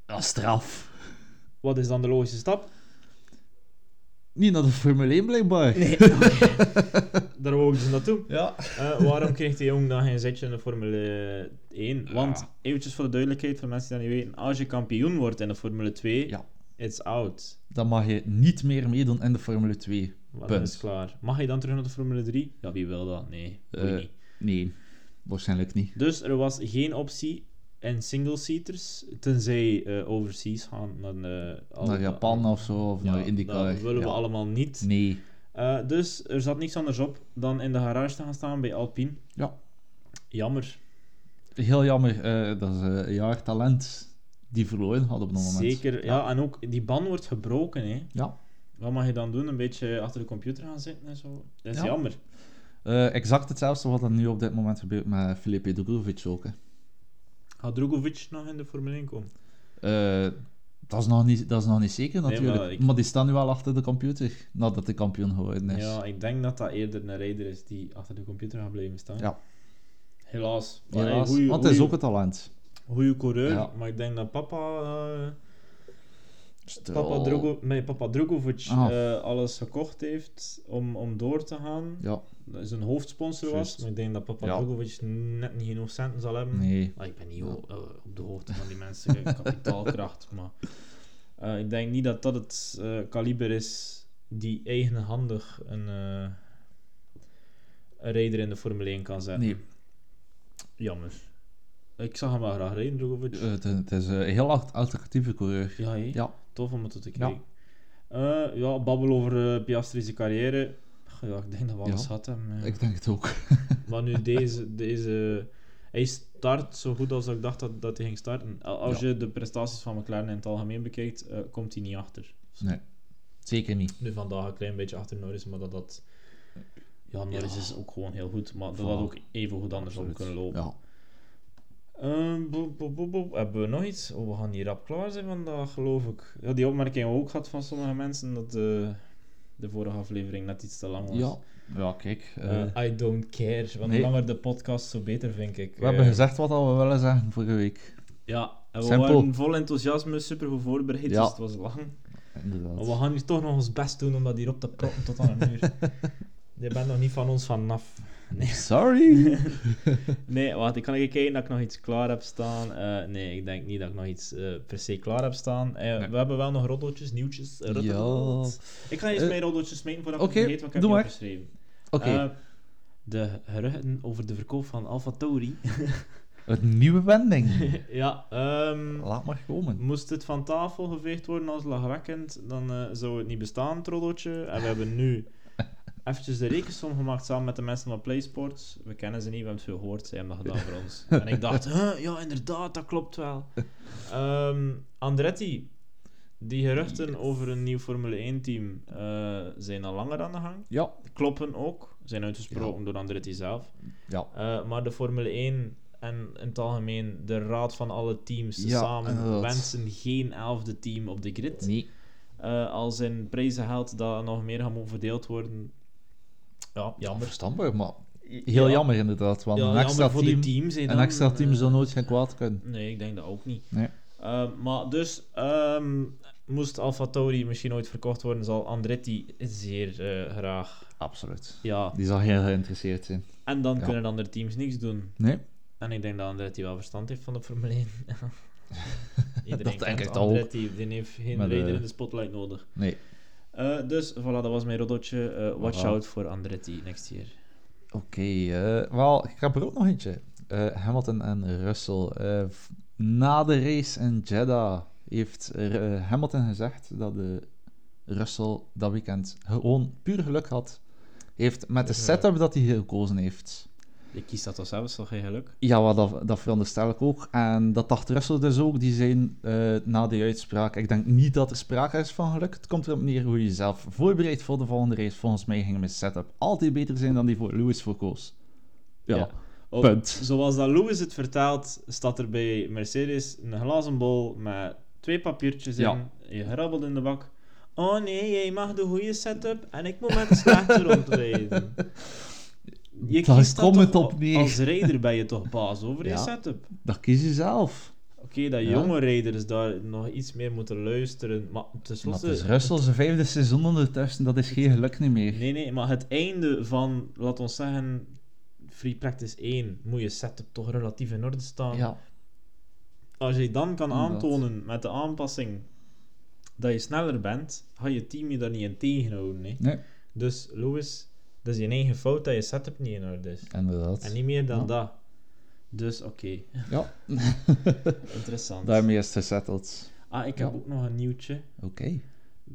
Dat is straf.
Wat is dan de logische stap?
Niet naar de Formule 1 blijkbaar.
Nee, daar wogen ze naartoe.
Ja.
Eh, waarom kreeg die jong dan geen zetje in de Formule 1? Want, eventjes voor de duidelijkheid, voor mensen die dat niet weten, als je kampioen wordt in de Formule 2,
Ja.
it's out.
Dan mag je niet meer meedoen in de Formule 2.
Wat
Punt.
is klaar. Mag je dan terug naar de Formule 3? Ja, wie wil dat? Nee, weet
Eh,
niet.
Nee, waarschijnlijk niet.
Dus er was geen optie in single-seaters, tenzij eh, overseas gaan naar, eh, al-
Naar Japan of zo, of
Ja,
naar IndyCar.
Dat willen we
Ja.
allemaal niet.
Nee.
Eh, dus er zat niks anders op dan in de garage te gaan staan bij Alpine.
Ja.
Jammer.
Heel jammer, eh, dat is eh, een jaar talent die verloren had op dat moment.
Zeker. Ja. en ook die ban wordt gebroken. Hè.
Ja.
Wat mag je dan doen? Een beetje achter de computer gaan zitten en zo. Dat is
Ja.
jammer.
Eh, exact hetzelfde wat er nu op dit moment gebeurt met Felipe Drugovic ook. hè.
Gaat Drogovic nog in de Formule 1 komen?
Eh, dat, is nog niet, dat is nog niet zeker
Nee, maar
natuurlijk. maar,
ik-
die staan nu wel achter de computer nadat de kampioen geworden is.
Ja, ik denk dat dat eerder een rijder is die achter de computer gaat blijven staan.
Ja.
Helaas. Maar,
Helaas,
hey, goeie-
want het is
goeie-
ook een talent.
goede coureur,
Ja.
maar ik denk dat papa, eh
Stel-
papa, Drogo, nee, papa Drogovic
Ah.
eh, alles gekocht heeft om, om door te gaan.
Ja,
Dat Zijn hoofdsponsor was,
Juist.
maar ik denk dat papa
Ja.
Drogovic net niet genoeg centen zal hebben.
nee.
Ah, ik ben niet ho- eh, op de hoogte van die mensen, eh, kapitaalkracht, maar eh, ik denk niet dat dat het eh, kaliber is die eigenhandig een, eh een rijder in de Formule 1 kan zetten.
nee.
Jammer. Ik zag hem wel graag rijden, Drogovic.
Eh, het, het is een heel alt- alternatieve coureur.
ja, hé.
Ja,
Tof om het te
Ja.
kijken. Ja, ja babbel over eh Piastri's carrière. Ach, Ja, ik denk dat we
Ja.
alles eh. hadden. ja.
ik denk het ook.
Maar nu deze, deze... Hij start zo goed als ik dacht dat, dat hij ging starten. Al- Als
Ja.
je de prestaties van McLaren in het algemeen bekijkt, eh, komt hij niet achter.
Nee, zeker niet.
Nu vandaag een klein beetje achter Norris, maar dat... dat ja, Norris is ook gewoon heel goed, maar dat
Voilà.
had ook even goed anders om kunnen lopen.
Ja.
Ehm, boep, boep, boep, boep. Hebben we nog iets? Oh, we gaan hier rap klaar zijn vandaag, geloof ik. Ja, die opmerking hebben we ook gehad van sommige mensen dat de, de vorige aflevering net iets te lang was.
Ja. ja, kijk. eh,
Eh, I don't care. Want
nee.
hoe langer de podcast, zo beter vind ik.
we hebben
Eh,
gezegd wat we willen zeggen vorige week.
Ja, en we
Simpel.
waren vol enthousiasme, super goed voorbereid,
Ja.
dus het was lang. Maar we
Inderdaad.
gaan hier toch nog ons best doen om dat hier op te proppen tot aan een uur. Je bent nog niet van ons vanaf.
Sorry!
Nee, wacht, ik kan even kijken dat ik nog iets klaar heb staan. Eh, nee, ik denk niet dat ik nog iets eh, per se klaar heb staan. Eh,
Nee.
We hebben wel nog roddeltjes, nieuwtjes. eh, roddeltjes. Ik ga eens
Eh,
mijn roddeltjes smeten voordat
oké,
ik het vergeet, want ik
doe
heb niet
maar.
opgeschreven.
Oké,
Eh, de geruchten over de verkoop van Alfa Tauri.
een nieuwe wending.
ja, ehm,
Laat maar komen.
Moest het van tafel geveegd worden als lagwekkend, dan eh, zou het niet bestaan, het roddeltje. En we hebben nu eventjes de rekensom gemaakt samen met de mensen van PlaySports. We kennen ze niet, we hebben het veel gehoord, ze hebben dat gedaan voor ons. En ik dacht, huh, ja inderdaad, dat klopt wel. Ehm, Andretti, die geruchten over een nieuw Formule 1-team zijn al langer aan de gang.
Ja,
Kloppen ook, zijn uitgesproken door Andretti zelf.
ja.
Eh, maar de Formule 1 en in het algemeen de raad van alle teams
Ja,
samen
inderdaad.
wensen geen elfde team op de grid.
Nee.
Eh, als in prijzen geldt dat nog meer gaan mogen verdeeld worden. Ja, jammer.
Verstandbaar, maar heel
Ja.
jammer inderdaad. Want
Ja,
een extra
jammer voor
team,
de teams. hè,
een
dan.
extra team
Eh,
zou nooit geen kwaad kunnen.
Nee, ik denk dat ook niet.
Nee.
Eh, maar dus, ehm, moest Alfa Tauri misschien ooit verkocht worden, zal Andretti zeer eh, graag.
Absoluut.
Ja.
Die zal heel geïnteresseerd zijn.
En dan
Ja.
kunnen de andere teams niks doen.
Nee,
En ik denk dat Andretti wel verstand heeft van de Formule 1. Iedereen
Dat denk
kent
ik dan ook.
Andretti, die heeft geen
Maar eh, de-
reden in de spotlight nodig.
nee.
Eh, dus, voilà, dat was mijn roddeltje. Eh, watch
Voilà.
out voor Andretti next year.
Oké, eh, wel, ik heb er ook nog eentje. Eh, Hamilton en Russell. Eh, v- na de race in Jeddah heeft eh, eh, Hamilton gezegd dat de Russell dat weekend gewoon puur geluk had. Heeft met de
Ja.
setup dat hij gekozen heeft.
Ik kies dat al zelfs, toch geen geluk.
Ja, wel, dat, dat veronderstel ik ook. En dat dacht Russell dus ook. Die zijn eh, na die uitspraak. Ik denk niet dat er sprake is van geluk. Het komt erop neer hoe je jezelf voorbereidt voor de volgende race. Volgens mij ging mijn setup altijd beter zijn dan die voor Lewis voor koos. Ja,
Ja. Oh,
punt.
Zoals dat Lewis het vertaalt, staat er bij Mercedes een glazen bol met twee papiertjes in.
Ja.
Je grabbelt in de bak. Oh nee, jij mag de goede setup en ik moet met de slechte rondrijden. Je
Daar
kiest dat
komt het
toch-
op neer.
Als rijder ben je toch baas over je
Ja.
setup.
Dat kies je zelf.
Oké, dat
Ja.
jonge rijders daar nog iets meer moeten luisteren. Maar
Maar
tenslotte...
het is Russell zijn vijfde seizoen ondertussen. Dat is geen geluk niet meer.
Nee, nee, maar het einde van, laat ons zeggen, Free Practice 1, moet je setup toch relatief in orde staan.
Ja.
Als je dan kan
Inderdaad.
aantonen met de aanpassing dat je sneller bent, ga je team je daar niet in tegenhouden. Hè.
Nee,
Dus Lewis, dat is je eigen fout dat je setup niet in orde is.
inderdaad.
En niet meer dan
Ja.
dat. Dus oké,
Ja,
interessant.
daarmee is het gezetteld.
Ah, ik heb
Ja.
ook nog een nieuwtje.
Oké.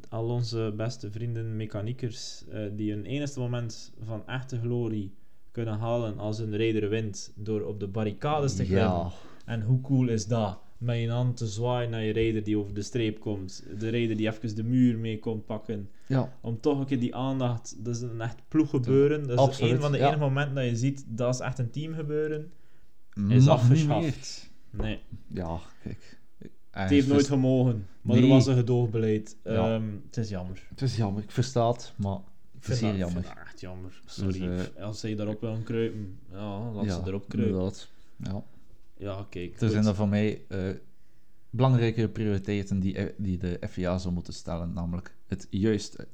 Al onze beste vrienden, mechaniekers, eh, die hun enigste moment van echte glorie kunnen halen als hun rijder wint door op de barricades te klimmen.
Ja.
En hoe cool is dat? Met je hand te zwaaien naar je rijder die over de streep komt. De rijder die even de muur mee komt pakken.
ja.
Om toch een keer die aandacht... Dat is een echt ploeggebeuren. Dat is
Absoluut,
een van de
ja.
enige momenten dat je ziet dat is echt een teamgebeuren.
Mag
Is
niet
afgeschaft.
meer.
Nee,
Ja, kijk.
het heeft nooit gemogen. Maar er
Nee.
was een gedoogbeleid.
dus Ja.
Ehm, het is jammer.
Het is jammer, ik versta het, maar
Ik
is
vind,
heel
dat, ik
jammer.
vind dat echt jammer. Sorry.
Dus,
Als ze daarop willen kruipen, ja, laat
ja,
ze erop kruipen.
inderdaad. Ja.
Ja, kijk.
Er
goed.
zijn er voor mij eh, belangrijkere prioriteiten die, eh, die de FIA zou moeten stellen, namelijk het juiste.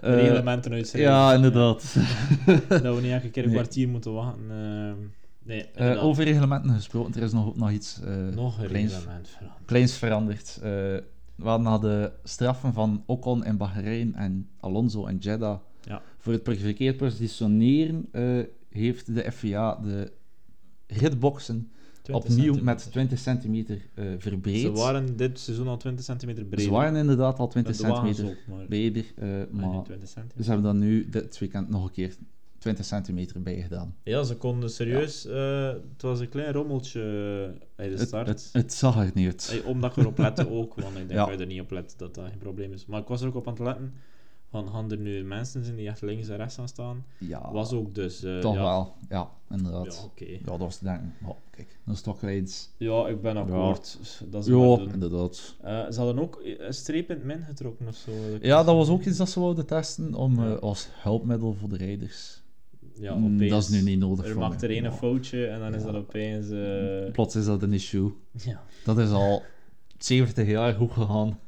Eh,
Reglementen uitschrijven.
ja, inderdaad.
Dat we niet elke keer een
Nee.
kwartier moeten wachten. ehm, nee,
Eh,
inderdaad.
over reglementen gesproken, er is nog, nog iets eh,
Nog een
kleins-
reglement veranderd.
kleins veranderd. Eh, we hadden na de straffen van Ocon en Bahrein en Alonso en Jeddah
Ja.
voor het verkeerd positioneren, eh, heeft de FIA de ritboxen
20
opnieuw
centimeter.
met 20 centimeter eh, verbreed.
Ze waren dit seizoen al 20 centimeter breed.
Ze waren inderdaad al 20
de wagens
centimeter
ook, maar,
breder, eh,
maar geen
maar
20 centimeter.
ze hebben dan nu dit weekend nog een keer 20 centimeter bij gedaan.
Ja, ze konden serieus... eh, het was een klein rommeltje eh, bij de
Het,
start.
het, het zag er niet uit.
Eh, omdat ik erop lette ook, want ik denk
Ja.
dat je er niet op let dat dat geen probleem is. Maar ik was er ook op aan het letten van, gaan er nu mensen zijn die echt links en rechts gaan staan?
Ja,
Was ook dus... eh,
toch
ja,
wel. Ja,
Ja,
inderdaad.
oké.
Ja, dat was te denken. Oh, kijk, dat is toch kleins.
Ja, ik ben akkoord. Dat is
Ja,
wat doen.
inderdaad.
Eh, ze hadden ook een streep in het min getrokken of zo.
Ja, dat was ook iets dat ze wilden testen om,
Ja.
eh, als hulpmiddel voor de rijders.
Ja,
Mm,
opeens.
dat is nu niet nodig
Er
voor
maakt
mij.
er één een
Ja.
foutje en dan is
Ja.
dat opeens... eh,
Plots is dat een issue.
ja.
Dat is al 70 jaar goed gegaan.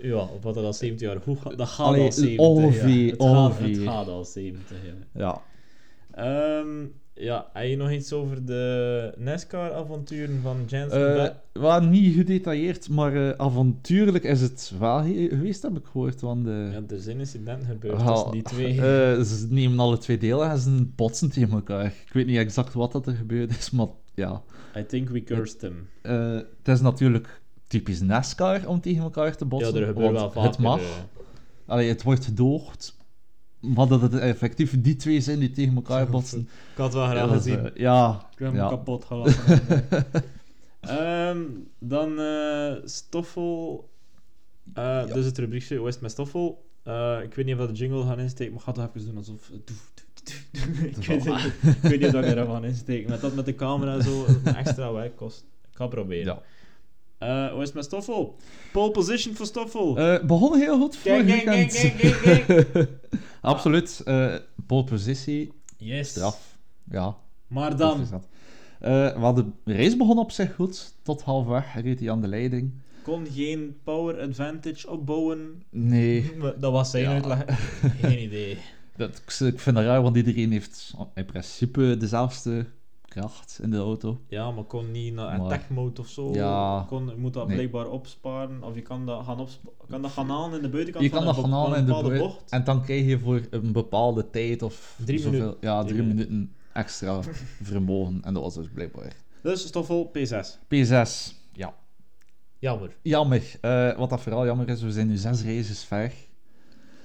ja, op wat er al 70 jaar... Hoe ga, dat gaat
Allee,
al 70
ongeveer,
ja. Het, gaat, het
ongeveer.
gaat al 70 jaar.
Ja.
Ehm, ja, heb je nog iets over de NASCAR-avonturen van Jensen?
Eh
Button?
wel niet gedetailleerd, maar eh, avontuurlijk is het wel he- geweest, heb ik gehoord. Want de...
ja, er zijn incidenten gebeurd
Wel,
tussen die twee.
eh, ze nemen alle twee delen en ze botsen tegen elkaar. Ik weet niet exact wat dat er gebeurd is, maar ja.
I think we cursed him.
Eh, het is natuurlijk typisch NASCAR om tegen elkaar te
Ja,
botsen.
er gebeurt
want
wel vaker.
Het mag.
eh,
Allee, het wordt gedoogd. Maar dat het effectief die twee zijn die tegen elkaar botsen.
Ik had wel graag
dat is,
gezien.
eh, ja,
Ik heb hem
ja.
kapot gelachen. Ehm, dan eh, Stoffel. Eh, Dus het rubriekje West met Stoffel. Eh, ik weet niet of dat de jingle gaan insteken, maar ik ga het even doen alsof... ik, weet het niet. ik weet niet of ik erop gaan insteken. Met dat met de camera en zo, dat me extra werk kost. Ik ga het proberen.
Ja.
Eh, West met Stoffel. Pole position voor Stoffel.
Eh, begon heel goed vorig
Kijk, kijk,
weekend.
kijk, kijk, kijk, Ah.
Absoluut. eh pole positie,
yes.
straf. Ja,
Maar
goed
dan
is dat. Eh, wel, de race begon op zich goed. Tot halfweg reed hij aan de leiding.
kon geen power advantage opbouwen.
Nee,
Dat was zijn
Ja.
uitleg. Geen idee.
dat, ik ik vind dat raar, want iedereen heeft in principe dezelfde kracht in de auto.
Ja, maar kon niet naar
Maar-
attack mode of zo.
Ja.
Kon, je moet dat
Nee.
blijkbaar opsparen. Of je kan dat gaan, opspa- kan dat gaan halen in de buitenkant
je kan
van
dat
een
gaan
be-
halen
van
in
een
de
bepaalde
boer-
bocht.
En dan krijg je voor een bepaalde tijd of
Drie
zoveel...
minuten.
Ja,
Drie
drie,
minuten.
minuten. extra vermogen. En dat was dus blijkbaar.
Dus Stoffel, P6.
P6. Ja.
Jammer.
Jammer. Eh, wat dat vooral jammer is, we zijn nu zes races ver.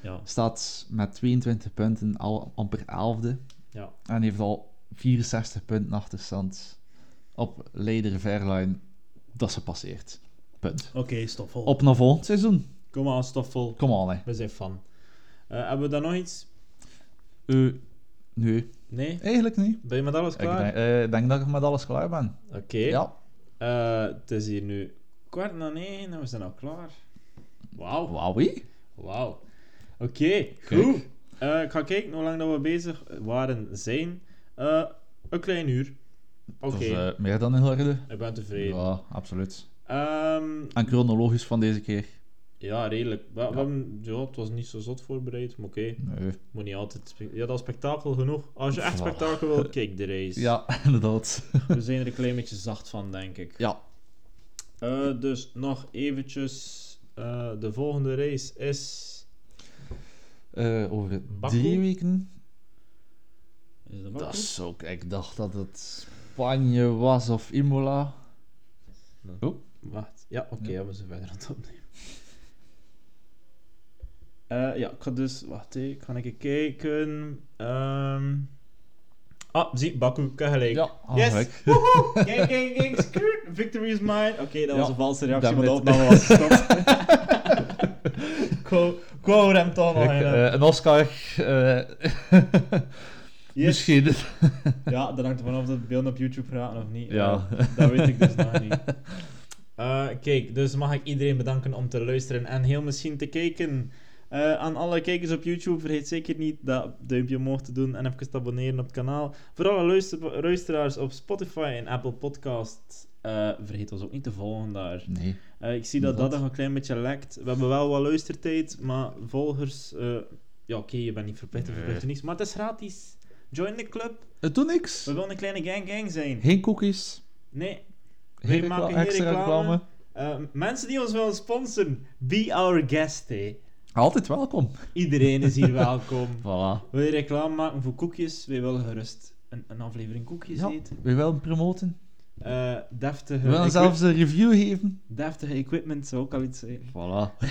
Ja.
Staat met 22 punten al amper 11e.
Ja.
En heeft al 64 punten achterstand op leider Verline dat ze passeert. Punt.
Oké, stoffel.
Op naar volgend seizoen.
Kom aan, stoffel.
Kom aan, hè.
We zijn fan. Eh, hebben we dan nog iets?
Eh, nee,
Nee?
eigenlijk niet.
Ben je met alles
Ik
klaar?
denk, eh, ik denk dat ik met alles klaar ben.
Oké.
Ja.
Eh, het is hier nu kwart na negen en we zijn al klaar. Wauw.
Wowie.
Wauw. Oké,
Kijk.
goed. Eh, ik ga kijken hoe lang dat we bezig waren zijn. Eh, een klein uur. Oké,
Dat is eh, meer dan in orde.
ik ben tevreden.
Ja, absoluut.
Ehm,
En chronologisch van deze keer?
ja, redelijk. We, we
Ja.
hebben- ja, het was niet zo zot voorbereid, maar oké.
Nee.
Moet niet altijd... spe- Ja, dat is spektakel genoeg. Als je echt
Voilà.
spektakel wilt, kijk de race.
Ja, inderdaad.
We zijn er een klein beetje zacht van, denk ik.
Ja.
Eh, dus nog eventjes... eh, de volgende race is...
Eh, over
Baku?
drie weken.
Is dat
Dat
Baku?
is ook... Ik dacht dat het Spanje was of Imola. Oh.
Wacht. Ja, oké,
Ja.
ja, we zijn verder aan het opnemen. Eh, ja, ik ga dus... Wacht, hé, ik ga even kijken. Ehm, Ah, zie, Baku, ik heb gelijk.
Ja,
Yes!
gelijk.
Woehoe! Kijk, kijk, kijk, skirt. Victory is mine. Oké, dat was
Ja,
een valse reactie, maar
damn
de
it.
opname was gestopt. Ik wou- Ik wou hem toch nog
Kijk,
in, hè.
eh, een Oscar. eh,
Yes.
Misschien.
Ja, dat hangt ervan af dat de beelden op YouTube gaan of niet.
Ja.
Eh, dat weet ik dus nog niet. Eh, kijk, dus mag ik iedereen bedanken om te luisteren en heel misschien te kijken. Eh, aan alle kijkers op YouTube, vergeet zeker niet dat duimpje omhoog te doen en even te abonneren op het kanaal. Voor alle luister- luisteraars op Spotify en Apple Podcasts, eh, vergeet ons ook niet te volgen daar.
Nee.
Eh, ik zie dat dat
Inderdaad.
nog een klein beetje lekt. We hebben wel wat luistertijd, maar volgers... eh, ja, oké, je bent niet verplicht, je
Nee.
verplicht je niets. Maar het is gratis. Join the club.
Het doet niks.
We willen een kleine gang-gang zijn.
Geen cookies.
Nee, Wij
Geen
maken
recla-
geen
extra
reclame.
reclame.
eh, mensen die ons willen sponsoren, be our guest, hè.
Altijd welkom.
Iedereen is hier welkom.
Voilà.
Wil je reclame maken voor koekjes? Wij willen gerust een, een aflevering koekjes
Ja.
eten.
We willen promoten.
Eh, deftige,
We willen
equi-
zelfs een review geven.
deftige equipment zou ook al iets zijn.
Voilà.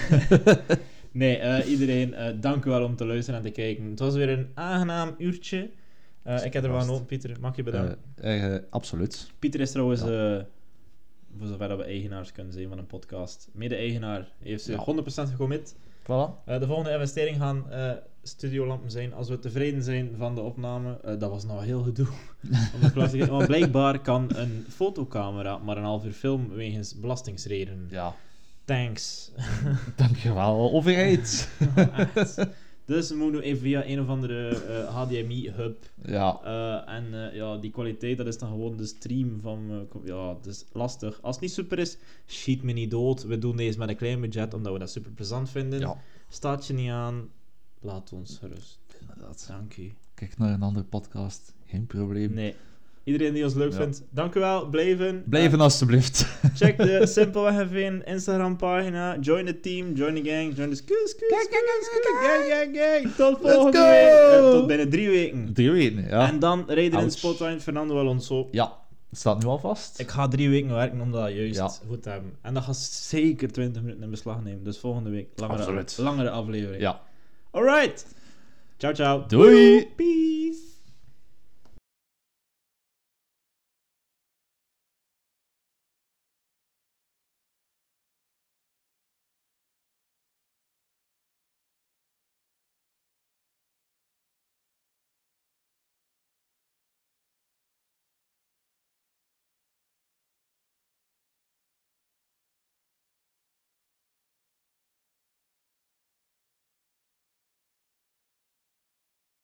Nee, eh, iedereen, eh, dank u wel om te luisteren en te kijken. Het was weer een aangenaam uurtje. Eh, ik heb er wel
Vast.
genoten, Pieter. Mag je bedanken.
Eh, eh, absoluut.
Pieter is trouwens, eh, voor zover dat we eigenaars kunnen zijn van een podcast, mede-eigenaar. Hij heeft zich
Ja.
100% gecommit.
Voilà.
Eh, de volgende investering gaan eh, studiolampen zijn. Als we tevreden zijn van de opname, eh, dat was nou heel gedoe. om de klaar te krijgen. Want blijkbaar kan een fotocamera maar een half uur film wegens belastingsredenen.
Ja.
Thanks.
Dankjewel, overheid.
Echt. Dus we moeten even via een of andere eh, HDMI-hub.
ja.
en eh, ja, die kwaliteit, dat is dan gewoon de stream van... eh, kom- ja, dat is lastig. Als het niet super is, schiet me niet dood. We doen deze met een klein budget, omdat we dat super plezant vinden.
Ja.
Staat je niet aan, laat ons gerust.
Inderdaad.
Dank u.
Kijk naar een andere podcast. Geen probleem.
Nee. Iedereen die ons leuk
Ja.
vindt, dank u wel. Blijven.
Blijven alstublieft.
Eh, check de Simpelweg even Instagram pagina. Join the team, join the gang, join the skus, skus,
Kijk, kijk,
skus,
kijk,
skus,
kijk,
gang, gang, gang. Tot volgende
go!
week. Eh, tot binnen drie weken.
Drie weken, ja.
En dan reden in
Ouch.
Spotlight Fernando Alonso.
Ja, het staat nu al vast.
Ik ga drie weken werken om dat juist
Ja.
goed te hebben. En dat gaat zeker 20 minuten in beslag nemen. Dus volgende week langere,
Absoluut.
langere aflevering.
Ja.
Alright. Ciao, ciao.
Doei!
Peace.